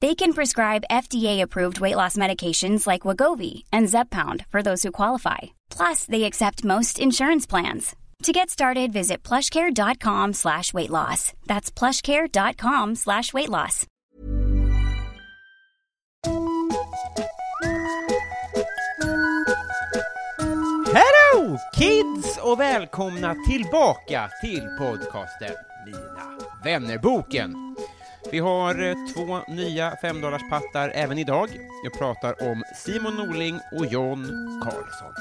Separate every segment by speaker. Speaker 1: They can prescribe FDA-approved weight loss medications like Wagovi and Zepbound for those who qualify. Plus, they accept most insurance plans. To get started, visit plushcare.com slash weight loss. That's plushcare.com slash weight loss.
Speaker 2: Hello kids och välkomna tillbaka till podcasten Mina vännerboken. Vi har eh, två nya femdollarspattar även idag. Jag pratar om Simon Norling och John Karlsson.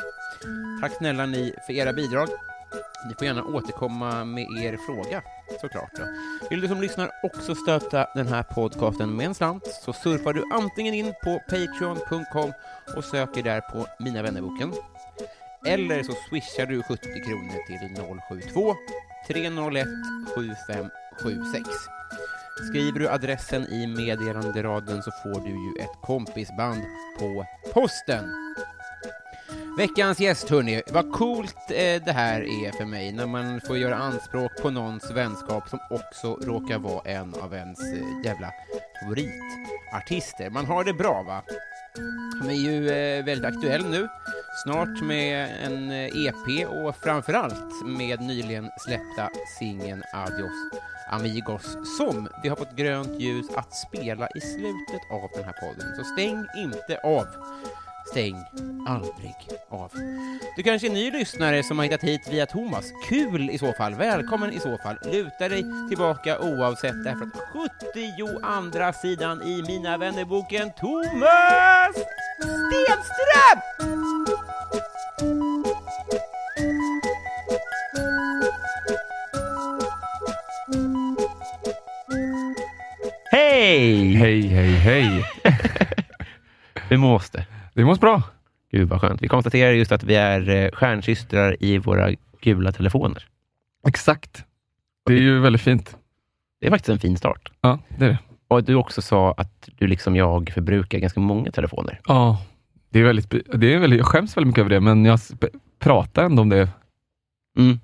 Speaker 2: Tack snälla ni för era bidrag. Ni får gärna återkomma med er fråga, såklart. Då. Vill du som lyssnar också stötta den här podcasten med en slant så surfar du antingen in på patreon.com och söker där på Mina vännerboken. Eller så swishar du 70 kronor till 072 301 7576. Skriver du adressen i meddelanderaden så får du ju ett kompisband på posten. Veckans gäst hörni, vad coolt eh, det här är för mig när man får göra anspråk på någons vänskap som också råkar vara en av ens eh, jävla favoritartister. Man har det bra va? Han är ju eh, väldigt aktuell nu, snart med en eh, EP och framförallt med nyligen släppta singeln Adios Amigos som vi har fått grönt ljus att spela i slutet av den här podden. Så stäng inte av. Stäng aldrig av. Du kanske är ny lyssnare som har hittat hit via Thomas. Kul i så fall, välkommen i så fall. Luta dig tillbaka oavsett därför att 70 andra sidan i Mina vännerboken Thomas Stenström! Hej!
Speaker 3: Hej, hej, hej.
Speaker 2: Hur mås det?
Speaker 3: Det mås bra.
Speaker 2: Gud vad skönt. Vi konstaterar just att vi är eh, stjärnsystrar i våra gula telefoner.
Speaker 3: Exakt. Det är ju väldigt fint.
Speaker 2: Det är faktiskt en fin start.
Speaker 3: Ja, det är det.
Speaker 2: Och du också sa att du liksom jag förbrukar ganska många telefoner.
Speaker 3: Ja, det är väldigt, det är väldigt, jag skäms väldigt mycket över det, men jag s- p- pratar ändå om det
Speaker 2: Mm.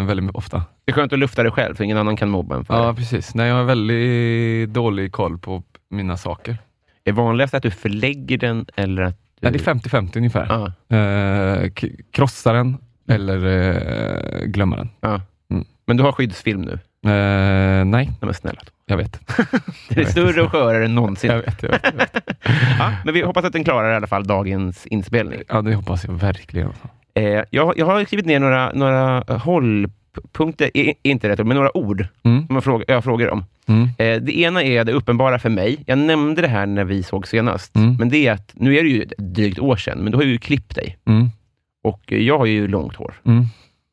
Speaker 3: eh, väldigt ofta.
Speaker 2: Det är skönt att lufta det själv, för ingen annan kan mobba en för
Speaker 3: Ja,
Speaker 2: det.
Speaker 3: precis. Nej, jag har väldigt dålig koll på mina saker.
Speaker 2: Är vanligast att du förlägger den eller att du...
Speaker 3: Nej, det är 50-50 ungefär.
Speaker 2: Ja,
Speaker 3: Eh, k- krossar den eller eh, glömmer den.
Speaker 2: ja.
Speaker 3: Mm.
Speaker 2: Men du har skyddsfilm nu? Nej,
Speaker 3: Eh, nej,
Speaker 2: men snälla. Tom.
Speaker 3: jag vet.
Speaker 2: Det är
Speaker 3: vet
Speaker 2: större och skörare än någonsin.
Speaker 3: Jag vet, jag vet, jag vet.
Speaker 2: Ja, men vi hoppas att den klarar i alla fall dagens inspelning.
Speaker 3: Ja, det hoppas jag verkligen.
Speaker 2: Eh, jag, jag har skrivit ner några, några eh, hållpunkter, i- inte rätt ord, men några ord
Speaker 3: Mm,
Speaker 2: som jag, fråga, jag frågar om.
Speaker 3: mm,
Speaker 2: Eh, det ena är det uppenbara för mig. Jag nämnde det här när vi såg senast,
Speaker 3: Mm.
Speaker 2: men det är att nu är det ju ett drygt år sedan, men du har ju klippt dig.
Speaker 3: mm,
Speaker 2: Och eh, jag har ju långt hår.
Speaker 3: mm.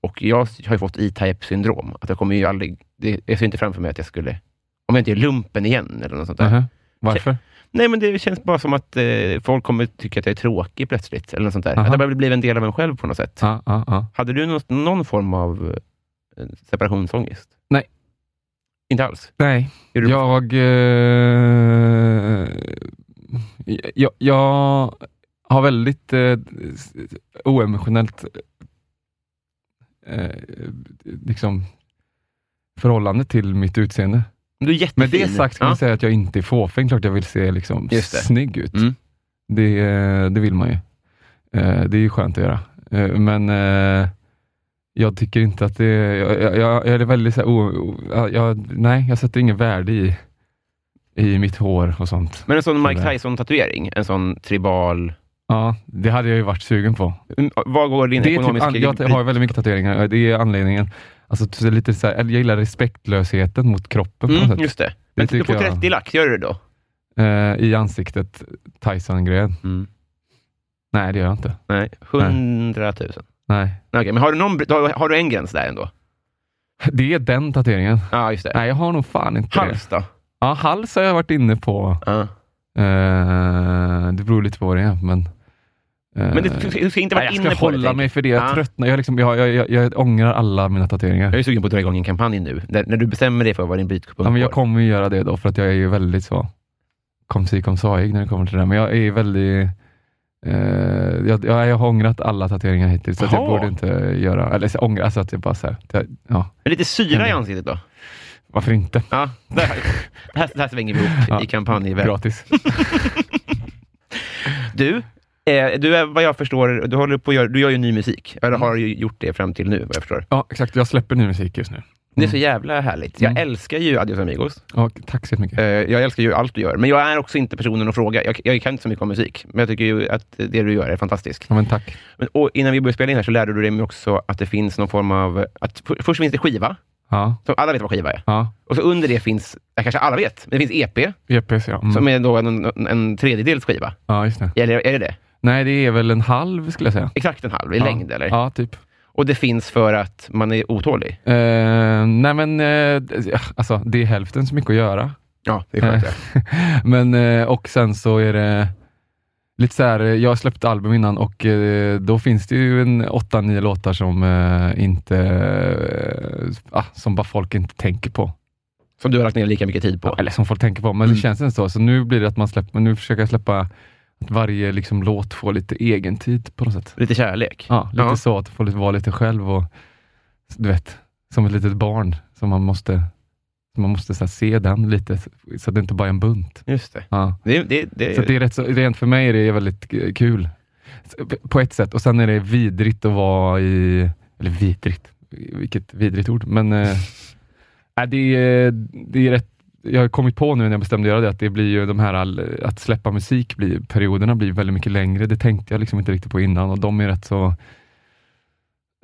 Speaker 2: Och jag har ju fått E-Type-syndrom. Att jag kommer ju aldrig... Det, jag ser inte framför mig att jag skulle... Om jag inte är lumpen igen eller något sånt där.
Speaker 3: Aha. Varför?
Speaker 2: Nej, men det känns bara som att eh, folk kommer tycka att jag är tråkig plötsligt. Eller något sånt där.
Speaker 3: Aha.
Speaker 2: Att jag börjar bli en del av en själv på något sätt.
Speaker 3: Ja, ja, ja.
Speaker 2: Hade du något, någon form av eh, separationsångest?
Speaker 3: Nej.
Speaker 2: Inte alls?
Speaker 3: Nej,
Speaker 2: Är du-
Speaker 3: Jag, eh, jag, jag har väldigt eh, s- oemotionellt eh, liksom, förhållande till mitt utseende.
Speaker 2: Du är jättefin.
Speaker 3: Med det sagt kan
Speaker 2: ja.
Speaker 3: man säga att jag inte är fåfäng. Klart jag vill se liksom,
Speaker 2: Just det.
Speaker 3: snygg ut.
Speaker 2: Mm.
Speaker 3: Det, eh, det vill man ju. Eh, Det är ju skönt att göra. Eh, Men eh, jag tycker inte att det... Jag, jag, jag är väldigt så här, o, o, jag, Nej, jag sätter ingen värde i, i mitt hår och sånt.
Speaker 2: Men en sån Mike
Speaker 3: Sådär.
Speaker 2: Tyson-tatuering, en sån tribal...
Speaker 3: Ja, det hade jag ju varit sugen på.
Speaker 2: Mm, Vad går din
Speaker 3: Det är typ,
Speaker 2: ekonomiska...
Speaker 3: an- jag har väldigt mycket tatueringar. Det är anledningen. Alltså, så lite så här, eller jag gillar respektlösheten mot kroppen på något
Speaker 2: Mm,
Speaker 3: sätt.
Speaker 2: just det. Men du
Speaker 3: tycker
Speaker 2: får
Speaker 3: jag.
Speaker 2: 30 lax, gör du det då?
Speaker 3: Eh, I ansiktet, Tyson-grejen. Mm. Nej, det gör jag inte.
Speaker 2: Nej, 100 000.
Speaker 3: Nej.
Speaker 2: Nej, Okej, men har du, någon, har, har du en gräns där ändå?
Speaker 3: Det är den tatueringen.
Speaker 2: Ja, just det.
Speaker 3: Nej, jag har nog fan inte det.
Speaker 2: Hals då?
Speaker 3: Ja, hals har jag varit inne på.
Speaker 2: Ja.
Speaker 3: Eh, det beror lite på vad det är, men... eh,
Speaker 2: Men du, du ska inte vara
Speaker 3: nej, jag
Speaker 2: inne på
Speaker 3: ska hålla
Speaker 2: tänker
Speaker 3: mig för det. Jag
Speaker 2: Ja.
Speaker 3: tröttnar. Jag, liksom, jag, jag, jag, jag ångrar alla mina tatueringar.
Speaker 2: Jag är sugen på att dra igång en kampanj nu, där, när du bestämmer dig för vad din brytpunkt
Speaker 3: Ja, men jag
Speaker 2: går.
Speaker 3: kommer ju göra det då, för att jag är ju väldigt så kom si kom saig när det kommer till det där. Men jag är ju väldigt... Eh, jag, jag, jag har ångrat alla tatueringar hittills, så att jag
Speaker 2: Jaha.
Speaker 3: borde inte göra... Eller så, ångra, alltså att jag bara så här, jag, ja,
Speaker 2: Men Lite syra i ansiktet då?
Speaker 3: varför inte?
Speaker 2: Ja, det här, det här, det här svänger vi ihop
Speaker 3: Ja.
Speaker 2: i kampanjvärlden.
Speaker 3: Gratis.
Speaker 2: Du, eh, du är vad jag förstår, du, håller på att göra, du gör ju ny musik. Eller har ju gjort det fram till nu, vad jag förstår.
Speaker 3: Ja, exakt. Jag släpper ny musik just nu.
Speaker 2: Det är så jävla härligt. Jag
Speaker 3: Mm.
Speaker 2: älskar ju Adios Amigos.
Speaker 3: Ja, tack så mycket.
Speaker 2: Eh, jag älskar ju allt du gör. Men jag är också inte personen att fråga. Jag, jag kan inte så mycket om musik, men jag tycker ju att det du gör är fantastiskt.
Speaker 3: Ja, men tack.
Speaker 2: Men, och innan vi började spela in här så lärde du dig mig också att det finns någon form av... Att, för, först finns det skiva,
Speaker 3: Ja,
Speaker 2: som alla vet vad skiva är.
Speaker 3: ja.
Speaker 2: Och så under det finns, ja, kanske alla vet, men det finns EP,
Speaker 3: EPS, ja. Mm.
Speaker 2: som är då en, en, en tredjedels skiva.
Speaker 3: Ja, just det.
Speaker 2: Eller är det det?
Speaker 3: Nej, det är väl en halv skulle jag säga.
Speaker 2: Exakt en halv i
Speaker 3: ja.
Speaker 2: längd, eller?
Speaker 3: Ja, typ.
Speaker 2: Och det finns för att man är otålig.
Speaker 3: Eh, nej, men eh, d- alltså, det är hälften så mycket att göra.
Speaker 2: Ja, det är skönt.
Speaker 3: Eh,
Speaker 2: ja.
Speaker 3: Men, eh, och sen så är det lite så här, eh, jag släppte album innan och eh, då finns det ju en åtta, nio låtar som eh, inte, eh, ah, som bara folk inte tänker på.
Speaker 2: Som du har lagt ner lika mycket tid på.
Speaker 3: Eller som folk tänker på, men det
Speaker 2: Mm.
Speaker 3: känns inte så. Så nu blir det att man släpper, men nu försöker jag släppa att varje liksom, låt får lite egen tid på något sätt.
Speaker 2: Lite kärlek.
Speaker 3: Ja, lite
Speaker 2: Ja.
Speaker 3: så, att få lite- vara lite själv och du vet, som ett litet barn som man måste, som man måste så här, se den lite, så att det inte bara är en bunt.
Speaker 2: Just det.
Speaker 3: Ja.
Speaker 2: Det, det, det,
Speaker 3: Så att det är rätt så, rent för mig är det väldigt eh, kul. Så, p- På ett sätt. Och sen är det vidrigt att vara i... Eller vidrigt. Vilket vidrigt ord. Men eh, nej, det, är, det är rätt... Jag har kommit på nu när jag bestämde göra det att det blir ju de här all, att släppa musik, blir, perioderna blir väldigt mycket längre. Det tänkte jag liksom inte riktigt på innan och de är rätt så...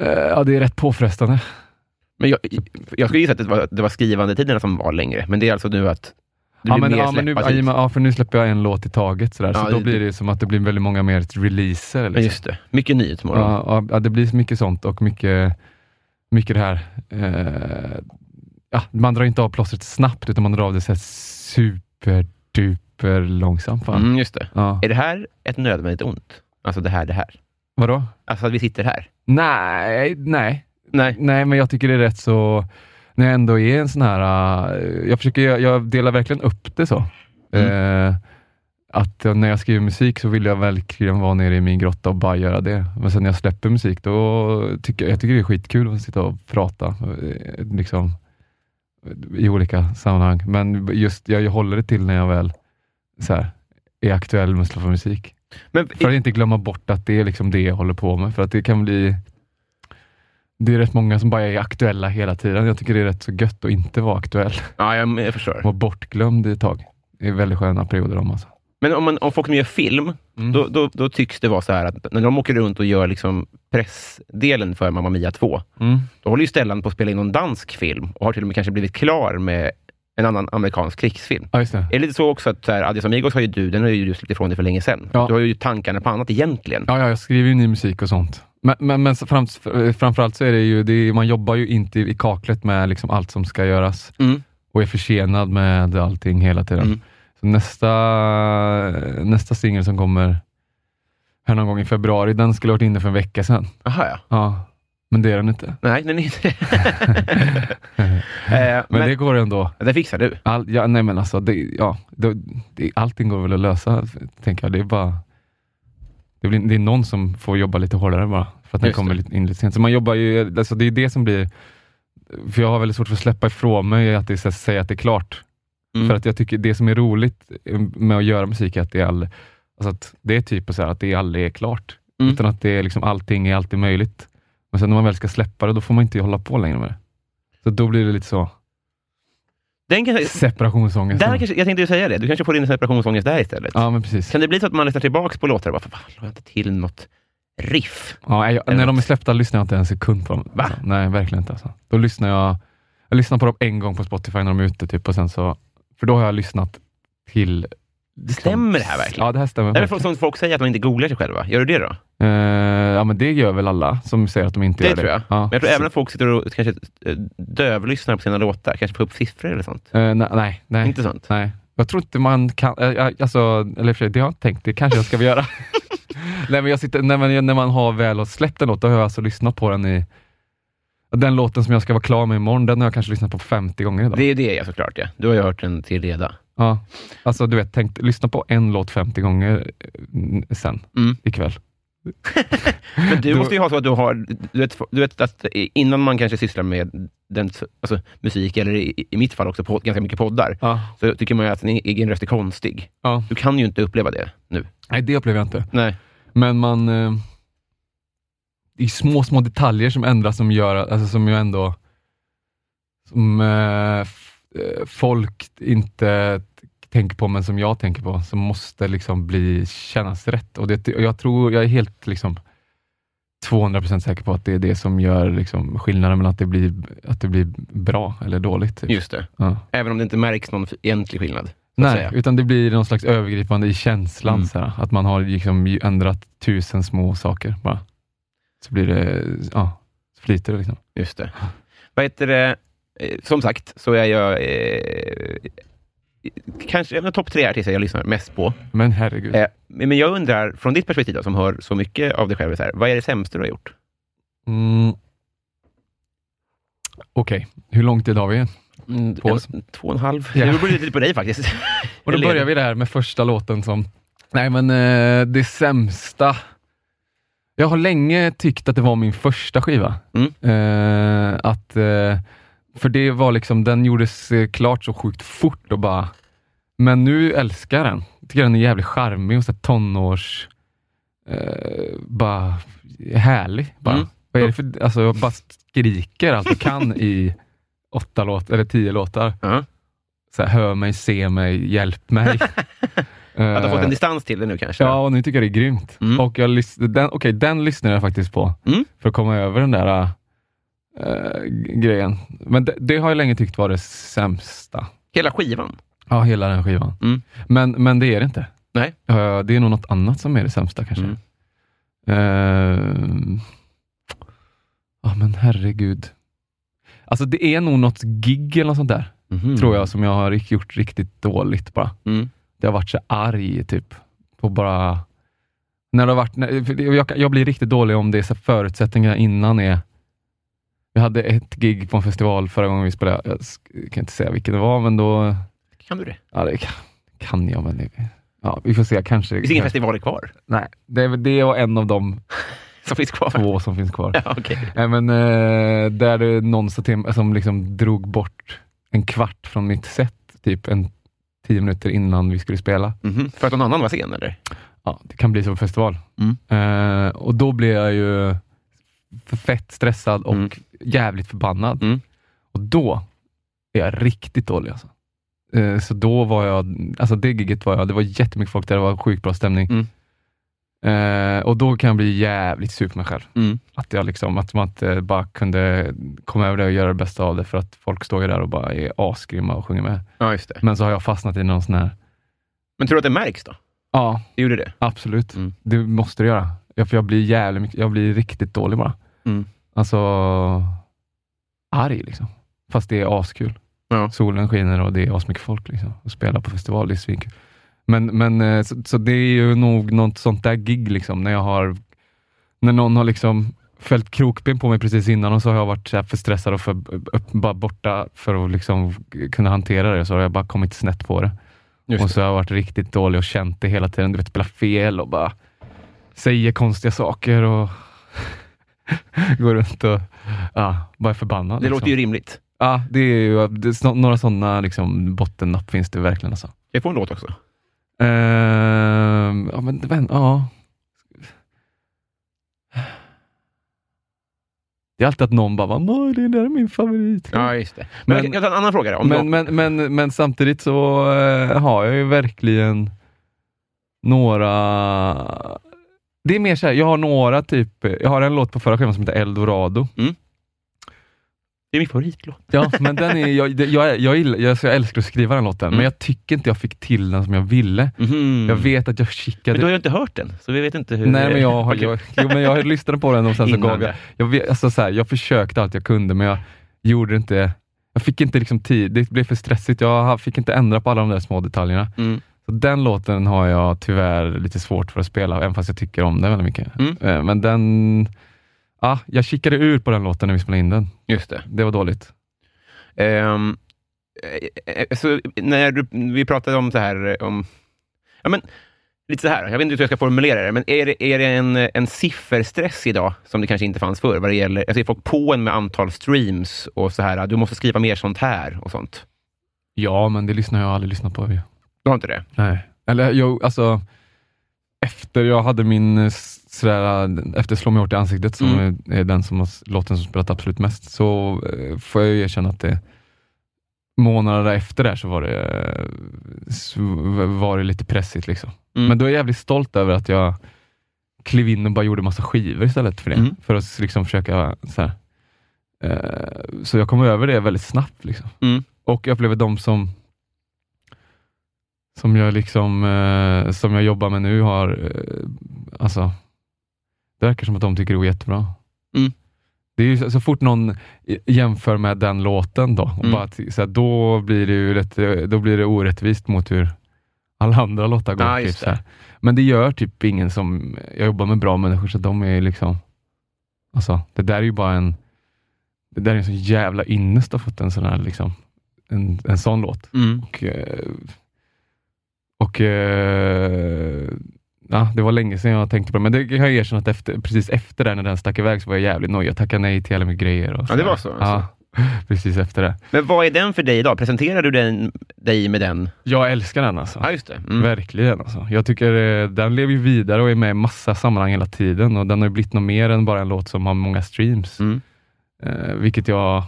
Speaker 3: eh, Ja, det är rätt påfrestande.
Speaker 2: men jag, jag skulle gissa att det var, det var skrivandetiderna som var längre, men det är alltså nu att det
Speaker 3: Ja,
Speaker 2: blir
Speaker 3: men,
Speaker 2: mer
Speaker 3: ja, men nu,
Speaker 2: släppa typ.
Speaker 3: ja, i och med- ja, för nu släpper jag en låt i taget, sådär.
Speaker 2: Ja,
Speaker 3: så då
Speaker 2: det-
Speaker 3: blir det ju som att det blir väldigt många mer releaser. Liksom.
Speaker 2: Men just det. Mycket nyhetsmorgon.
Speaker 3: Ja, ja, ja, det blir så mycket sånt och mycket, mycket det här. Eh, ja, man drar inte av plåstret snabbt, utan man drar av det så här superduper långsamt. Fan.
Speaker 2: Mm, just det.
Speaker 3: Ja.
Speaker 2: Är det här ett nödvändigt ont? Alltså det här, det här.
Speaker 3: Vadå?
Speaker 2: Alltså att vi sitter här.
Speaker 3: Nej, nej,
Speaker 2: Nej.
Speaker 3: nej, men jag tycker det är rätt så... När jag ändå är en sån här... eh, jag, försöker, jag, jag delar verkligen upp det så. Eh, att jag- när jag skriver musik så vill jag verkligen vara nere i min grotta och bara göra det. Men sen när jag släpper musik, då tycker jag, jag tycker det är skitkul att sitta och prata eh, liksom, i olika sammanhang. Men just jag, jag håller det till när jag väl så här, är aktuell med att släppa musik.
Speaker 2: Men,
Speaker 3: För att inte glömma bort att det är liksom det jag håller på med. För att det kan bli... Det är rätt många som bara är aktuella hela tiden. Jag tycker det är rätt så gött att inte vara aktuell.
Speaker 2: ja, jag, jag förstår.
Speaker 3: Vara bortglömd i ett tag. Det är väldigt sköna perioder om alltså.
Speaker 2: Men om, man, om folk som gör film,
Speaker 3: Mm.
Speaker 2: då, då, då tycks det vara så här att när de åker runt och gör liksom pressdelen för Mamma Mia 2,
Speaker 3: Mm.
Speaker 2: då håller ju Stellan på att spela in någon dansk film och har till och med kanske blivit klar med en annan amerikansk krigsfilm.
Speaker 3: Ja, just det.
Speaker 2: Är det lite så också att så här, Adios Amigos har ju du, den har ju du släppt ifrån dig för länge sedan.
Speaker 3: Ja.
Speaker 2: Du har ju tankarna på annat egentligen.
Speaker 3: Ja, ja, jag skriver ju ny musik och sånt. Men, men, men så frams, framförallt så är det ju, det är, man jobbar ju inte i kaklet med liksom allt som ska göras
Speaker 2: Mm.
Speaker 3: och är försenad med allting hela tiden.
Speaker 2: Mm.
Speaker 3: Så nästa, nästa singel som kommer här någon gång i februari, den skulle ha varit inne för en vecka sedan.
Speaker 2: Aha, ja.
Speaker 3: Ja, men det är den inte.
Speaker 2: Nej, den är inte det. Eh,
Speaker 3: Men,
Speaker 2: men
Speaker 3: det går ändå.
Speaker 2: det fixar du.
Speaker 3: All, ja, nej men alltså, det, ja, det, det, allting går väl att lösa, tänker jag. Det är bara... Det, blir, det är någon som får jobba lite hårdare bara, för att den
Speaker 2: Just
Speaker 3: kommer
Speaker 2: det.
Speaker 3: lite- in lite sent. Så man jobbar ju, alltså det är det som blir... För jag har väldigt svårt för att släppa ifrån mig att det, så att säga att det är klart.
Speaker 2: Mm.
Speaker 3: För att jag tycker det som är roligt med att göra musik är att det är, all, alltså att det är typ så här, att det aldrig är klart.
Speaker 2: Mm.
Speaker 3: Utan att det är liksom, allting är alltid möjligt. Men sen när man väl ska släppa det, då får man inte hålla på längre med det. Så då blir det lite så,
Speaker 2: Den kanske,
Speaker 3: separationsångest.
Speaker 2: Eh, där kanske, jag tänkte ju säga det, du kanske får in en separationsångest där istället.
Speaker 3: Ja, men precis.
Speaker 2: Kan det bli så att man lyssnar tillbaks på låtar och bara, "Fan, vad fan, la jag inte till något riff.
Speaker 3: Ja, nej, jag,
Speaker 2: Eller
Speaker 3: när de är släppta lyssnar jag inte en sekund på dem.
Speaker 2: Va?
Speaker 3: Alltså, nej, verkligen inte. Alltså. Då lyssnar jag, jag lyssnar på dem en gång på Spotify när de är ute, typ, och sen så, för då har jag lyssnat till...
Speaker 2: Stämmer det här verkligen?
Speaker 3: Ja, det här stämmer.
Speaker 2: det är väl
Speaker 3: verkligen.
Speaker 2: folk- som folk säger, att de inte googlar sig själva. Gör du det då?
Speaker 3: Eh, ja, men det gör väl alla som säger att de inte
Speaker 2: Det,
Speaker 3: gör det.
Speaker 2: tror jag.
Speaker 3: Ja.
Speaker 2: Men jag tror även att folk sitter och kanske eh, dövlyssnar på sina låtar. Kanske får upp siffror eller sånt.
Speaker 3: Eh, nej, nej, nej.
Speaker 2: Inte sånt?
Speaker 3: nej. Jag tror inte man kan... eh, jag- alltså, eller i och för sig, det har jag inte tänkt. Det kanske jag ska göra. nej, men jag sitter, nej, men när man har väl har släppt en låt, då har jag alltså lyssnat på den i... Den låten som jag ska vara klar med imorgon, den har jag kanske lyssnat på 50 gånger idag.
Speaker 2: Det är det, ja, såklart. Ja. Du har ju hört den till leda.
Speaker 3: Ja, alltså du vet, tänk, lyssna på en låt 50 gånger eh, n- sen,
Speaker 2: Mm.
Speaker 3: ikväll.
Speaker 2: Men du
Speaker 3: Då-
Speaker 2: måste ju ha så att du har... Du vet, du vet att innan man kanske sysslar med den, alltså, musik, eller i, i mitt fall också pod, ganska mycket poddar,
Speaker 3: Ja.
Speaker 2: så tycker man ju att din egen röst är konstig.
Speaker 3: Ja.
Speaker 2: Du kan ju inte uppleva det nu.
Speaker 3: Nej, det upplever jag inte.
Speaker 2: Nej.
Speaker 3: Men man... Eh, det är små, små detaljer som ändras som gör, alltså som ju ändå... Som eh, f- eh, folk inte t- tänker på, men som jag tänker på, som måste liksom bli, kännas rätt. Och, det, och jag tror, jag är helt liksom 200% säker på att det är det som gör liksom skillnaden mellan att det blir, att det blir bra eller dåligt. Typ.
Speaker 2: Just det.
Speaker 3: Ja.
Speaker 2: Även om det inte märks någon egentlig skillnad. så att
Speaker 3: Nej,
Speaker 2: säga.
Speaker 3: utan det blir någon slags övergripande i känslan.
Speaker 2: Mm.
Speaker 3: såhär, att man har liksom ju ändrat tusen små saker bara. Så blir det, ja, så flyter det liksom.
Speaker 2: Just det. Vad heter det? Eh, Som sagt, så är jag... Eh, kanske en av topp tre artister jag lyssnar mest på.
Speaker 3: Men herregud.
Speaker 2: Eh, men jag undrar, från ditt perspektiv då, som hör så mycket av dig själv, så här, vad är det sämsta du har gjort?
Speaker 3: Mm. Okej, hur lång tid har vi? På oss.
Speaker 2: en, Mm, två och en halv.
Speaker 3: Ja.
Speaker 2: Det beror lite på dig faktiskt.
Speaker 3: Och då
Speaker 2: Eller-
Speaker 3: börjar vi det här med första låten som... Nej men eh, det sämsta... Jag har länge tyckt att det var min första skiva.
Speaker 2: Mm.
Speaker 3: Eh, att, eh, för det var liksom, den gjordes eh, klart så sjukt fort och bara... Men nu älskar jag den. Tycker den är jävligt charmig och så här tonårs... Eh, bara härlig. Bara.
Speaker 2: Mm.
Speaker 3: Vad är det för, alltså, jag bara skriker allt jag kan i åtta låt, eller tio låtar
Speaker 2: Ja.
Speaker 3: så här, hör mig, se mig, hjälp mig.
Speaker 2: Att du har fått en
Speaker 3: Eh,
Speaker 2: distans till det nu kanske?
Speaker 3: ja, och nu tycker jag det är grymt.
Speaker 2: Mm.
Speaker 3: Och jag lys- den, okej, den lyssnar jag faktiskt på
Speaker 2: Mm.
Speaker 3: för att komma över den där eh, g- grejen. Men det, det har jag länge tyckt var det sämsta.
Speaker 2: Hela skivan?
Speaker 3: Ja, hela den skivan.
Speaker 2: Mm.
Speaker 3: Men, men det är det inte.
Speaker 2: Nej.
Speaker 3: Eh, det är nog något annat som är det sämsta kanske.
Speaker 2: Mm.
Speaker 3: Ehm, Ja, men herregud. Alltså det är nog något gig eller något sånt där, tror jag, som jag har rik- gjort riktigt dåligt bara.
Speaker 2: Mm.
Speaker 3: Det har varit så arg typ. På bara... När det har varit, när, för det- jag, kan- jag blir riktigt dålig om det är så här förutsättningarna innan är... Jag hade ett gig på en festival förra gången vi spelade. Jag sk- kan inte säga vilken det var, men då...
Speaker 2: Kan du det?
Speaker 3: Ja, det kan, kan jag, men... Det, ja, vi får se. Kanske.
Speaker 2: Det finns inga
Speaker 3: kanske
Speaker 2: festivaler kvar
Speaker 3: nej, det, är väl- det var en av de
Speaker 2: som finns kvar?
Speaker 3: två som finns kvar.
Speaker 2: Ja, okej.
Speaker 3: Nej, men, eh, där det någon sa till mig- som liksom drog bort en kvart från mitt set, typ en tio minuter innan vi skulle spela.
Speaker 2: Mhm. För att någon annan var sen eller?
Speaker 3: ja, det kan bli så på festival.
Speaker 2: Mm.
Speaker 3: Eh, och då blir jag ju f- fett stressad och
Speaker 2: Mm.
Speaker 3: jävligt förbannad.
Speaker 2: Mm.
Speaker 3: Och då är jag riktigt dålig alltså. Eh, så då var jag, alltså det giget var jag, det var jättemycket folk där, det var sjukt bra stämning.
Speaker 2: Mm.
Speaker 3: Eh, och då kan jag bli jävligt sur på mig själv.
Speaker 2: Mm.
Speaker 3: Att, jag liksom, att man inte bara kunde komma över det och göra det bästa av det, för att folk står ju där och bara är asgrymma och sjunger med.
Speaker 2: Ja, just det.
Speaker 3: Men så har jag fastnat i någon sån här,
Speaker 2: Men tror du att det märks då?
Speaker 3: ja,
Speaker 2: Det gjorde det?
Speaker 3: Absolut.
Speaker 2: Mm.
Speaker 3: Det måste du göra. Ja, för jag blir jävligt mycket, jag blir riktigt dålig bara.
Speaker 2: Mm.
Speaker 3: Alltså, arg liksom. Fast det är askul.
Speaker 2: Ja.
Speaker 3: Solen skiner och det är asmycket folk liksom. Och spela på festival, det är svinkul. Men, men eh, så, så det är ju nog något sånt där gig liksom, när jag har, när någon har liksom fällt krokben på mig precis innan och så har jag varit så här för stressad och för, upp, bara borta för att liksom kunna hantera det. Så har jag bara kommit snett på det och så har jag varit riktigt dålig och känt det hela tiden. Du vet, spela fel och bara säger konstiga saker och går runt och ja, bara är förbannad.
Speaker 2: Det
Speaker 3: liksom.
Speaker 2: låter ju rimligt.
Speaker 3: ja, det är ju, det är snå- några sådana liksom, bottennapp finns det verkligen. Alltså.
Speaker 2: Ska jag få en låt också?
Speaker 3: Ehm, ja, men vän, ja. Det är alltid att någon bara, "Va, "Moj, det där är min favorit.
Speaker 2: Ja, just det. Mm. Men,
Speaker 3: Men-
Speaker 2: jag kan ta en annan fråga då. Om
Speaker 3: Men,
Speaker 2: men,
Speaker 3: men, men, men samtidigt så eh, har jag ju verkligen några Det är mer så här, jag har några typ, jag har en låt på förra skivan som heter Eldorado.
Speaker 2: Det är min favoritlåt.
Speaker 3: Ja, men den är, jag, det- jag, jag, gillar, jag, så jag älskar att skriva den låten, men jag tycker inte jag fick till den som jag ville. Mhm. Jag vet att jag
Speaker 2: Men
Speaker 3: kikade...
Speaker 2: du har ju inte hört den, så vi vet inte hur...
Speaker 3: Nej, men jag, har,
Speaker 2: Okej.
Speaker 3: jag, jo, men jag lyssnade på den och sen så
Speaker 2: Innan
Speaker 3: gav jag...
Speaker 2: det.
Speaker 3: Jag, vet- alltså, så här, jag försökte allt jag kunde, men jag gjorde inte... Jag fick inte liksom tid, det blev för stressigt. Jag ha- fick inte ändra på alla de där små detaljerna.
Speaker 2: Mm.
Speaker 3: Så den låten har jag tyvärr lite svårt för att spela, även fast jag tycker om den väldigt mycket.
Speaker 2: Mm.
Speaker 3: Eh, Men den... Ja, jag kikade ur på den låten när vi spelade in den.
Speaker 2: Just det.
Speaker 3: Det var dåligt.
Speaker 2: Ehm, eh, eh, så när du, vi pratade om så här, eh, om, ja men, lite så här, jag vet inte hur jag ska formulera det, men är det, är det en, eh, en sifferstress idag, som det kanske inte fanns förr, vad det gäller, jag ser folk på en med antal streams och så här, ah, du måste skriva mer sånt här och sånt.
Speaker 3: Ja, men det lyssnar jag aldrig lyssnat på. ju.
Speaker 2: Du har inte det?
Speaker 3: Nej. Eller jo, alltså efter jag hade min eh, s- sådär, efter Slå mig hårt i ansiktet, som
Speaker 2: Mm.
Speaker 3: är- är den som har, s- låten som spelat absolut mest, så eh, får jag ju erkänna att det månader efter där så var det, eh, s- v- var det lite pressigt. Liksom.
Speaker 2: Mm.
Speaker 3: Men då är jag jävligt stolt över att jag klev in och bara gjorde massa skivor istället för det.
Speaker 2: Mm.
Speaker 3: För att s- liksom försöka så här. Eh, Så jag kom över det väldigt snabbt. Liksom.
Speaker 2: Mm.
Speaker 3: Och jag upplever de som som jag liksom eh, som jag jobbar med nu har, eh, alltså det verkar som att de tycker det går jättebra.
Speaker 2: Mm.
Speaker 3: Det är ju så, så fort någon i- jämför med den låten då, och
Speaker 2: Mm.
Speaker 3: bara, t- så här, då, blir det ju rätt, då blir det orättvist mot hur alla andra låtar går.
Speaker 2: Ja,
Speaker 3: typ,
Speaker 2: just
Speaker 3: så
Speaker 2: det.
Speaker 3: här. Men det gör typ ingen som, jag jobbar med bra människor så de är ju liksom, alltså det där är ju bara en, det där är en sån jävla ynnest att ha fått en sån här liksom, en, en sån låt.
Speaker 2: Mm.
Speaker 3: Och, eh, och eh, ja, det var länge sedan jag tänkte på det, men det kan jag erkänna att efter, precis efter det, när den stack iväg, så var jag jävligt nojig. Jag tackade nej till alla mina grejer. Och
Speaker 2: Ja, det var så, alltså.
Speaker 3: Ja, precis efter det.
Speaker 2: Men vad är den för dig idag? Presenterar du den, dig med den?
Speaker 3: Jag älskar den alltså.
Speaker 2: Ja, just det. Mm.
Speaker 3: Verkligen alltså. Jag tycker eh, den lever ju vidare och är med i massa sammanhang hela tiden och den har ju blivit något mer än bara en låt som har många streams.
Speaker 2: Mm.
Speaker 3: Eh, vilket, jag,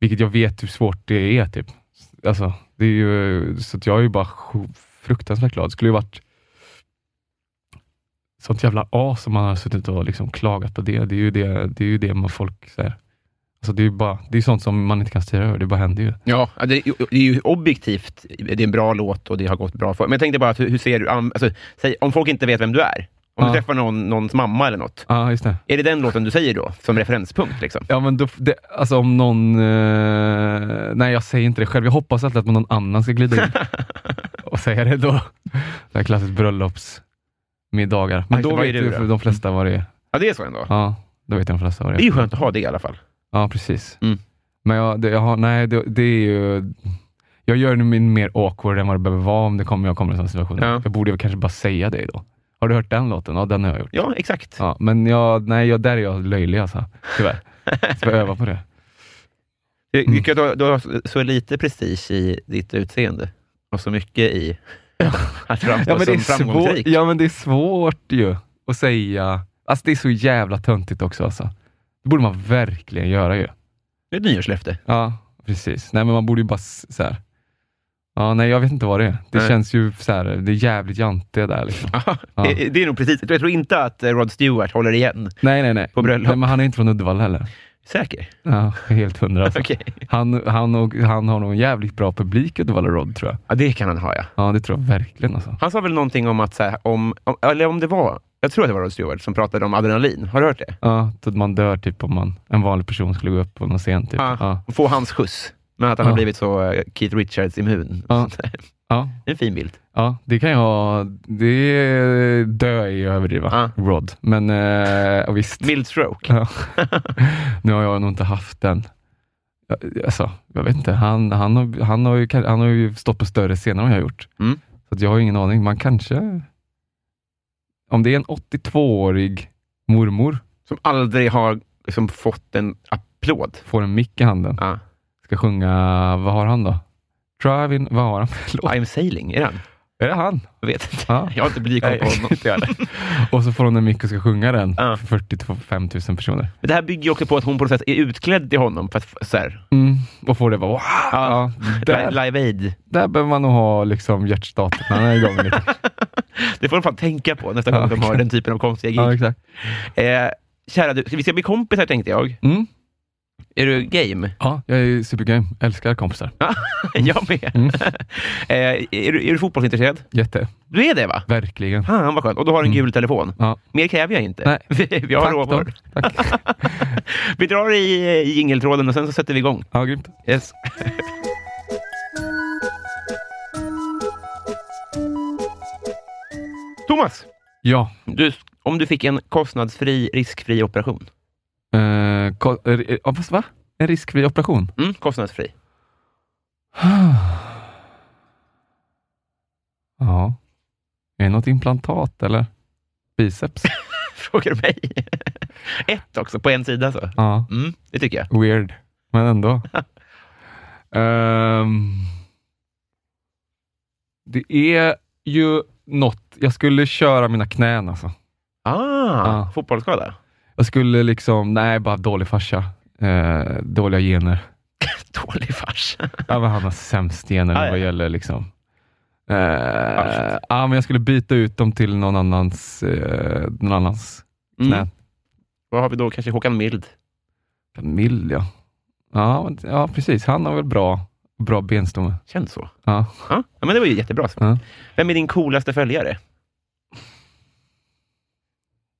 Speaker 3: vilket jag vet hur svårt det är. Typ. Alltså, det är ju, så att jag är ju bara sj- fruktansvärt glad. Det skulle ju varit sånt jävla as om man har suttit och liksom klagat på det. Det är ju det, det, är ju det man folk säger. Alltså det är ju bara, det är sånt som man inte kan styra över. Det bara händer ju.
Speaker 2: Ja, det är, det är ju objektivt. Det är en bra låt och det har gått bra för Men jag tänkte bara, att hur, hur ser du... an- Alltså, säg, om folk inte vet vem du är, om du
Speaker 3: Ja.
Speaker 2: träffar någon, någons mamma eller något,
Speaker 3: Ja, just det.
Speaker 2: är det den låten du säger då, som referenspunkt? Liksom?
Speaker 3: Ja, men då, det, alltså om någon... Eh, nej, jag säger inte det själv. Jag hoppas alltid att någon annan ska glida in och säga det då. Det är klassiskt bröllopsmiddagar. Men
Speaker 2: Ja,
Speaker 3: då
Speaker 2: vad är
Speaker 3: vet
Speaker 2: det
Speaker 3: ju
Speaker 2: då?
Speaker 3: för de flesta vad det är.
Speaker 2: Ja, det är så ändå.
Speaker 3: Ja, då vet de flesta vad det
Speaker 2: Det är
Speaker 3: är.
Speaker 2: ju skönt att ha det i alla fall.
Speaker 3: Ja, precis.
Speaker 2: Mm.
Speaker 3: Men jag, det, jag har, nej, det, det är ju... Jag gör det min mer awkward än vad det behöver vara om det kommer, jag kommer i en sån situation.
Speaker 2: Ja.
Speaker 3: Jag borde väl kanske bara säga det då. Har du hört den låten? Ja, den har jag gjort.
Speaker 2: Ja, exakt.
Speaker 3: Ja, men jag, nej, jag, där är jag löjlig alltså. Tyvärr. Ska öva på det.
Speaker 2: Det-
Speaker 3: Mm.
Speaker 2: Eh, Du, du, du har så lite prestige i ditt utseende och så mycket i att framstå
Speaker 3: Ja men, det är
Speaker 2: som
Speaker 3: svår,
Speaker 2: framgångsrik.
Speaker 3: ja men det är svårt ju att säga. Alltså det är så jävla töntigt också. Alltså. Det borde man verkligen göra ju.
Speaker 2: Det är ett nyårslöfte.
Speaker 3: Ja, precis. Nej men man borde ju bara s- så här. Ja, nej jag vet inte vad det är. Det
Speaker 2: Nej.
Speaker 3: känns ju så här, det är jävligt jante där liksom. Ja.
Speaker 2: Det, det är nog precis. Jag tror inte att eh, Rod Stewart håller igen.
Speaker 3: Nej, nej, nej.
Speaker 2: På bröllop.
Speaker 3: Nej, men han är inte från Uddevalla heller.
Speaker 2: Säker?
Speaker 3: Ja, helt hundra alltså.
Speaker 2: Okej.
Speaker 3: han, han, och, han har nog en jävligt bra publik i Uddevalla Rod tror jag.
Speaker 2: Ja, det kan han ha, ja.
Speaker 3: Ja, det tror jag verkligen alltså.
Speaker 2: Han sa väl någonting om att, så här, om, om, eller om det var, jag tror att det var Rod Stewart som pratade om adrenalin. Har du hört det?
Speaker 3: Ja, så att man dör typ om man, en vanlig person skulle gå upp på någon scen typ.
Speaker 2: Ja.
Speaker 3: Ja.
Speaker 2: Få hans skjuts. Men att han
Speaker 3: Ja.
Speaker 2: har blivit så eh, Keith Richards-immun.
Speaker 3: Ja. ja,
Speaker 2: En fin bild.
Speaker 3: Ja, det kan jag... Det dö är ju att överdriva,
Speaker 2: Ja.
Speaker 3: Rod. Men eh, och visst,
Speaker 2: Mild stroke.
Speaker 3: ja. nu har jag nog inte haft den. Ja, Alltså, jag vet inte. Han, han, har, han, har ju, kan- han har ju stått på större scener än jag har gjort.
Speaker 2: Mm.
Speaker 3: Så att jag har ingen aning. Man kanske... Om det är en 82-årig mormor
Speaker 2: Som aldrig har liksom, fått en applåd.
Speaker 3: får en mick i handen,
Speaker 2: Ja.
Speaker 3: ska sjunga... Vad har han då? Driving... Vad har han för låt?
Speaker 2: I'm sailing, är det han?
Speaker 3: Är det han?
Speaker 2: Jag vet inte.
Speaker 3: Ja.
Speaker 2: Jag har inte blivit koll på
Speaker 3: Nej,
Speaker 2: honom.
Speaker 3: inte jag heller. och så får hon en mick och ska sjunga den
Speaker 2: Ja.
Speaker 3: för 40-5 000 personer.
Speaker 2: Men det här bygger ju också på att hon på något sätt är utklädd till honom. För att, så här,
Speaker 3: Mm. Och får det bara wow.
Speaker 2: Ja. Mm.
Speaker 3: Ja. Där,
Speaker 2: Live Aid.
Speaker 3: där behöver man nog ha liksom hjärtstaterna igång lite.
Speaker 2: Det får de fan tänka på nästa
Speaker 3: Ja,
Speaker 2: gång de har
Speaker 3: exakt.
Speaker 2: den typen av konstiga gig.
Speaker 3: Ja, exakt.
Speaker 2: Eh, kära du, vi ska bli kompisar tänkte jag.
Speaker 3: Mm.
Speaker 2: Är du game?
Speaker 3: Ja, jag är supergame. Älskar kompisar.
Speaker 2: jag med.
Speaker 3: Mm.
Speaker 2: eh, är, du, är du fotbollsintresserad?
Speaker 3: Jätte.
Speaker 2: Du är det va?
Speaker 3: Verkligen.
Speaker 2: Fan vad skönt. Och du har en
Speaker 3: Mm.
Speaker 2: gul telefon.
Speaker 3: Ja.
Speaker 2: Mer kräver jag inte.
Speaker 3: Nej.
Speaker 2: vi har
Speaker 3: Tack då.
Speaker 2: råvaror.
Speaker 3: Tack.
Speaker 2: Vi drar i, eh, i jingeltråden och sen så sätter vi igång.
Speaker 3: Ja, grymt.
Speaker 2: Yes. Thomas,
Speaker 3: Ja.
Speaker 2: du, om du fick en kostnadsfri, riskfri operation.
Speaker 3: Eh, ko- eh, ja, fast va? En riskfri operation?
Speaker 2: Mm, kostnadsfri.
Speaker 3: ja. Är det något implantat eller? Biceps?
Speaker 2: Frågar du mig? Ett också, på en sida så.
Speaker 3: Ja.
Speaker 2: Mm, det tycker jag.
Speaker 3: Weird, men ändå. Ehm, det är ju något, jag skulle köra mina knän alltså.
Speaker 2: Ah,
Speaker 3: Ja.
Speaker 2: fotbollsskada.
Speaker 3: Jag skulle liksom, nej bara dålig farsa. Eh, dåliga gener.
Speaker 2: Dålig fars.
Speaker 3: Ja, men han har sämst gener
Speaker 2: Ah, ja.
Speaker 3: vad gäller liksom. Eh,
Speaker 2: shit.
Speaker 3: ja, men jag skulle byta ut dem till någon annans, eh, någon annans knä.
Speaker 2: Mm. Vad har vi då? Kanske Håkan Mild?
Speaker 3: Camille ja. Ja, men- ja, precis. Han har väl bra, bra benstomme.
Speaker 2: Känns så.
Speaker 3: Ja.
Speaker 2: Ja, ja, men det var ju jättebra. svar.
Speaker 3: Ja.
Speaker 2: Vem är din coolaste följare?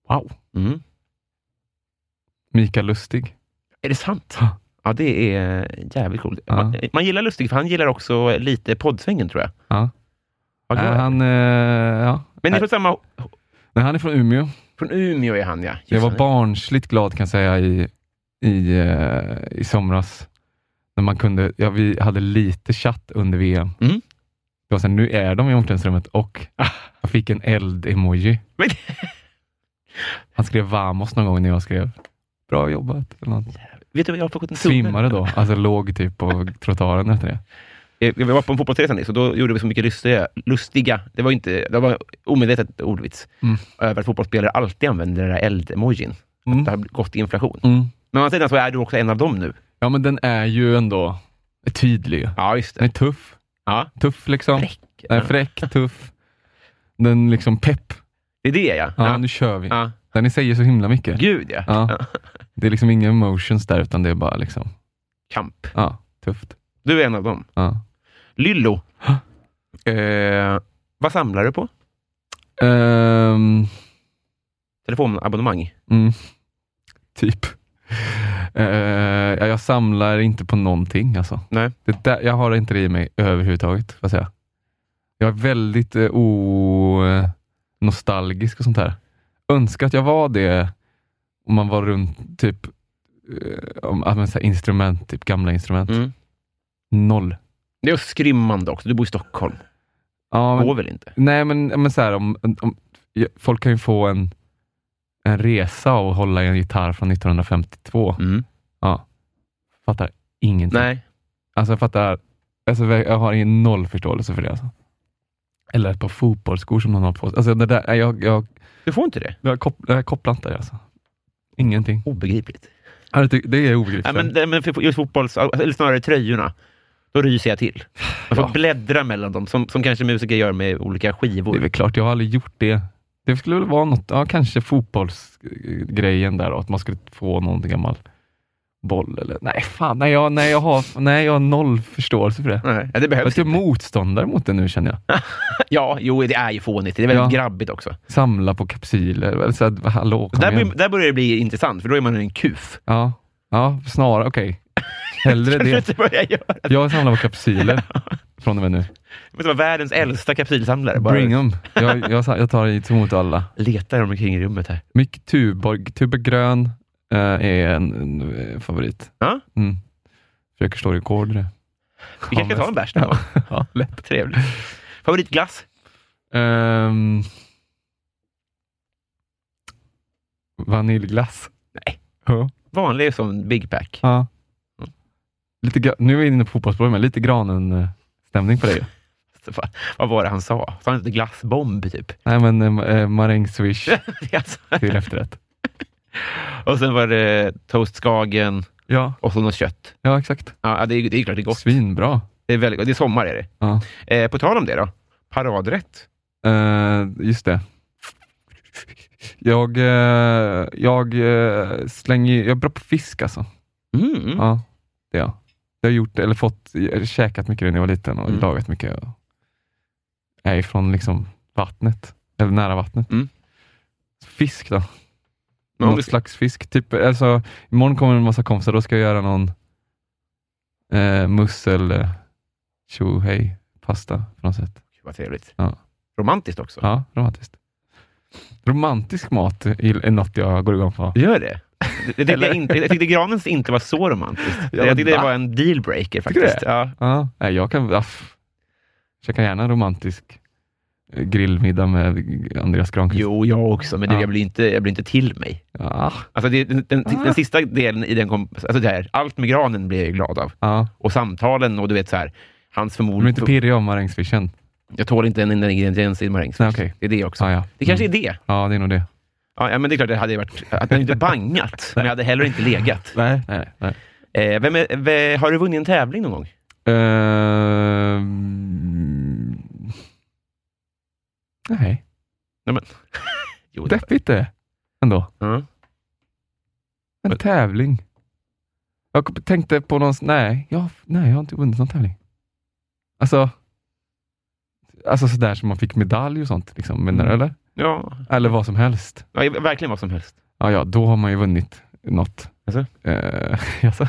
Speaker 3: Wow.
Speaker 2: Mm.
Speaker 3: Mikael Lustig.
Speaker 2: Är det sant?
Speaker 3: Ja.
Speaker 2: Ja, det är jävligt coolt.
Speaker 3: Ja.
Speaker 2: Man, eh, man gillar Lustig, för han gillar också lite poddsvängen, tror jag.
Speaker 3: Ja.
Speaker 2: Vad
Speaker 3: Nej,
Speaker 2: glad.
Speaker 3: han, eh, ja.
Speaker 2: Men ni är från samma...
Speaker 3: Nej, han är från Umeå.
Speaker 2: Från Umeå är han, ja. Just
Speaker 3: jag var
Speaker 2: han.
Speaker 3: barnsligt glad kan jag säga i, i, eh, i somras. När man kunde, ja, vi hade lite chatt under VM.
Speaker 2: Mm.
Speaker 3: Det var så här, nu är de i omklädningsrummet och jag fick en eld-emoji.
Speaker 2: Men-
Speaker 3: Han skrev vamos någon gång när jag skrev bra jobbat. Eller något.
Speaker 2: Vet du vad jag har fått en tumme?
Speaker 3: Svimmade då, alltså låg typ på trottoaren efter det.
Speaker 2: Eh, Vi var på en fotbollsresa nyss och då gjorde vi så mycket lustiga, lustiga det var ju inte, det var omedvetet ordvits,
Speaker 3: Mm.
Speaker 2: över att fotbollsspelare alltid använder den där eld-emojin.
Speaker 3: Mm.
Speaker 2: Det har gått i inflation.
Speaker 3: Mm.
Speaker 2: Men å andra sidan så är du också en av dem nu.
Speaker 3: Ja men den är ju ändå tydlig.
Speaker 2: Ja, just
Speaker 3: Den
Speaker 2: det.
Speaker 3: är tuff.
Speaker 2: Ja.
Speaker 3: Tuff liksom.
Speaker 2: Fräck.
Speaker 3: Den är fräck, tuff. Den liksom pepp.
Speaker 2: Det är det, ja.
Speaker 3: Ja,
Speaker 2: ja.
Speaker 3: nu kör vi.
Speaker 2: ja.
Speaker 3: Den säger så himla mycket.
Speaker 2: Gud, ja.
Speaker 3: Ja. Det är liksom inga emotions där, utan det är bara liksom,
Speaker 2: Kamp.
Speaker 3: ja, tufft.
Speaker 2: Du är en av dem.
Speaker 3: Ja.
Speaker 2: Lyllo. eh, vad samlar du på?
Speaker 3: Ehm,
Speaker 2: Telefonabonnemang?
Speaker 3: mm, typ. Eh, ja, jag samlar inte på någonting alltså.
Speaker 2: Nej.
Speaker 3: Det där, jag har inte det i mig överhuvudtaget, får jag säga. Jag är väldigt eh, o, eh, nostalgisk och sånt här. Önskar att jag var det om man var runt typ eh, om, ja, men så här instrument, typ gamla instrument.
Speaker 2: Mm.
Speaker 3: Noll.
Speaker 2: Det är ju skrymmande också. Du bor i Stockholm.
Speaker 3: Ja, men-
Speaker 2: Går väl inte?
Speaker 3: Nej, men, men så här, om, om, folk kan ju få en, en resa av att hålla i en gitarr från 1952.
Speaker 2: Mm.
Speaker 3: Fattar ingenting.
Speaker 2: Nej.
Speaker 3: Alltså, jag fattar. Alltså, jag har ingen noll förståelse för det. Alltså. Eller ett par fotbollsskor som någon har på sig. Alltså, det där, nej, jag, jag,
Speaker 2: Du får inte det.
Speaker 3: jag, kop, jag kopplar inte det. Alltså. Ingenting.
Speaker 2: Obegripligt.
Speaker 3: Ja, det- Det är
Speaker 2: Nej,
Speaker 3: obegripligt.
Speaker 2: men, det- men för- just fotbolls... Eller snarare tröjorna. Då ryser jag till. Man får
Speaker 3: Ja.
Speaker 2: bläddra mellan dem, som, som kanske musiker gör med olika skivor.
Speaker 3: det är väl klart, jag har aldrig gjort det. Det skulle väl vara något, ja, kanske fotbollsgrejen där då, att man skulle få någon gammal boll eller nej, fan, nej jag, nej, jag, har, nej, jag har noll förståelse för det.
Speaker 2: Nej, ja, det
Speaker 3: Jag är
Speaker 2: behövs
Speaker 3: typ
Speaker 2: inte.
Speaker 3: motståndare mot det nu känner jag.
Speaker 2: Ja, jo, det är ju fånigt. Det är väldigt grabbigt också.
Speaker 3: Samla på kapsyler, eller så här, hallå, kom
Speaker 2: Där,
Speaker 3: igen.
Speaker 2: blir, där börjar det bli intressant, för då är man en kuf.
Speaker 3: Ja, ja snarare, okej. Hellre
Speaker 2: Det
Speaker 3: det.
Speaker 2: är vad jag gör.
Speaker 3: Jag samlar på kapsyler från och med nu.
Speaker 2: Jag måste vara världens äldsta kapsylsamlare. Bara
Speaker 3: Bring 'em. Jag, jag, sa- jag tar emot alla.
Speaker 2: letar omkring i rummet här.
Speaker 3: Mycket Tuborg. Tuber Grön eh, är en, en eh, favorit.
Speaker 2: Ja.
Speaker 3: Mm. Försöker slå rekord i det.
Speaker 2: Vi kanske ska ta en bärs någon gång.
Speaker 3: Ja, lätt.
Speaker 2: Trevligt. Favoritglass?
Speaker 3: Ehm, vaniljglass.
Speaker 2: Nej.
Speaker 3: Ja.
Speaker 2: Vanlig som Big Pack.
Speaker 3: ja. Lite, gra- nu är vi inne på fotbollsspåret, men lite granen-stämning på dig.
Speaker 2: Så fan, Vad var det han sa? Sa han inte glassbomb, typ?
Speaker 3: Nej, men eh, ma- eh, maräng-swish
Speaker 2: Det är alltså-
Speaker 3: till efterrätt.
Speaker 2: och sen var det toast skagen
Speaker 3: Ja,
Speaker 2: och så något kött.
Speaker 3: ja exakt.
Speaker 2: Ja, det är, det är klart det är gott.
Speaker 3: Svinbra.
Speaker 2: Det är, väldigt, gott. det är sommar, är det.
Speaker 3: Ja.
Speaker 2: Eh, på tal om det då. Paradrätt.
Speaker 3: Eh, just det. Jag, eh, jag eh, slänger, jag är bra på fisk alltså.
Speaker 2: Mm.
Speaker 3: Ja, det är jag. Jag har gjort, eller fått, eller käkat mycket när jag var liten och
Speaker 2: Mm.
Speaker 3: lagat mycket. Jag är från liksom vattnet, eller nära vattnet.
Speaker 2: Mm.
Speaker 3: Fisk då?
Speaker 2: Men om
Speaker 3: Någon
Speaker 2: vi-
Speaker 3: slags fisk. Typ, alltså, imorgon kommer en massa kompisar, då ska jag göra någon eh, mussel eh, tjohej pasta på något sätt.
Speaker 2: Vad trevligt.
Speaker 3: Ja.
Speaker 2: Romantiskt också.
Speaker 3: Ja, romantiskt. Romantisk mat är är något jag går igång på.
Speaker 2: Gör det? Det- Det tyckte
Speaker 3: Eller?
Speaker 2: jag, inte, jag tyckte Granens inte var så romantiskt.
Speaker 3: Ja,
Speaker 2: jag tyckte
Speaker 3: va?
Speaker 2: det var en dealbreaker
Speaker 3: Tycker du
Speaker 2: faktiskt. Ja.
Speaker 3: Ja, nej, jag kan aff, käka gärna en romantisk eh, grillmiddag med Andreas Granqvist.
Speaker 2: Jo, jag också, men det,
Speaker 3: Ja.
Speaker 2: jag, blir inte, jag blir inte till mig.
Speaker 3: Ja,
Speaker 2: Alltså det, den, den,
Speaker 3: Ah.
Speaker 2: den sista delen i den kom, alltså det här, allt med granen blir jag ju glad av.
Speaker 3: ja.
Speaker 2: Och samtalen och du vet så här, hans
Speaker 3: Du blir
Speaker 2: förmodligen...
Speaker 3: inte pirrig av marängsfischen?
Speaker 2: jag tål inte en enda ingrediens i marängsås.
Speaker 3: Nej, okej.
Speaker 2: Det är det också.
Speaker 3: Ja, ja.
Speaker 2: Det kanske
Speaker 3: Mm.
Speaker 2: är det.
Speaker 3: Ja, det är nog det.
Speaker 2: Ja, ja, men det är klart, det hade ju varit, att jag inte bangat, men jag hade heller inte legat.
Speaker 3: Nej. nej, nej.
Speaker 2: Eh, vem är, vem, har du vunnit en tävling någon gång?
Speaker 3: Ehm, nej,
Speaker 2: Jo, det-
Speaker 3: deppigt det ändå.
Speaker 2: Ja.
Speaker 3: En
Speaker 2: Men-
Speaker 3: tävling. Jag kom- tänkte på någon... Nej, jag, nej, jag har inte vunnit någon tävling. Alltså, alltså sådär som man fick medalj och sånt. Liksom, menar du,
Speaker 2: Mm.
Speaker 3: eller?
Speaker 2: Ja,
Speaker 3: Eller vad som helst.
Speaker 2: ja, verkligen vad som helst.
Speaker 3: Ja, ja, då har man ju vunnit något.
Speaker 2: Jaså?
Speaker 3: Eh, jaså?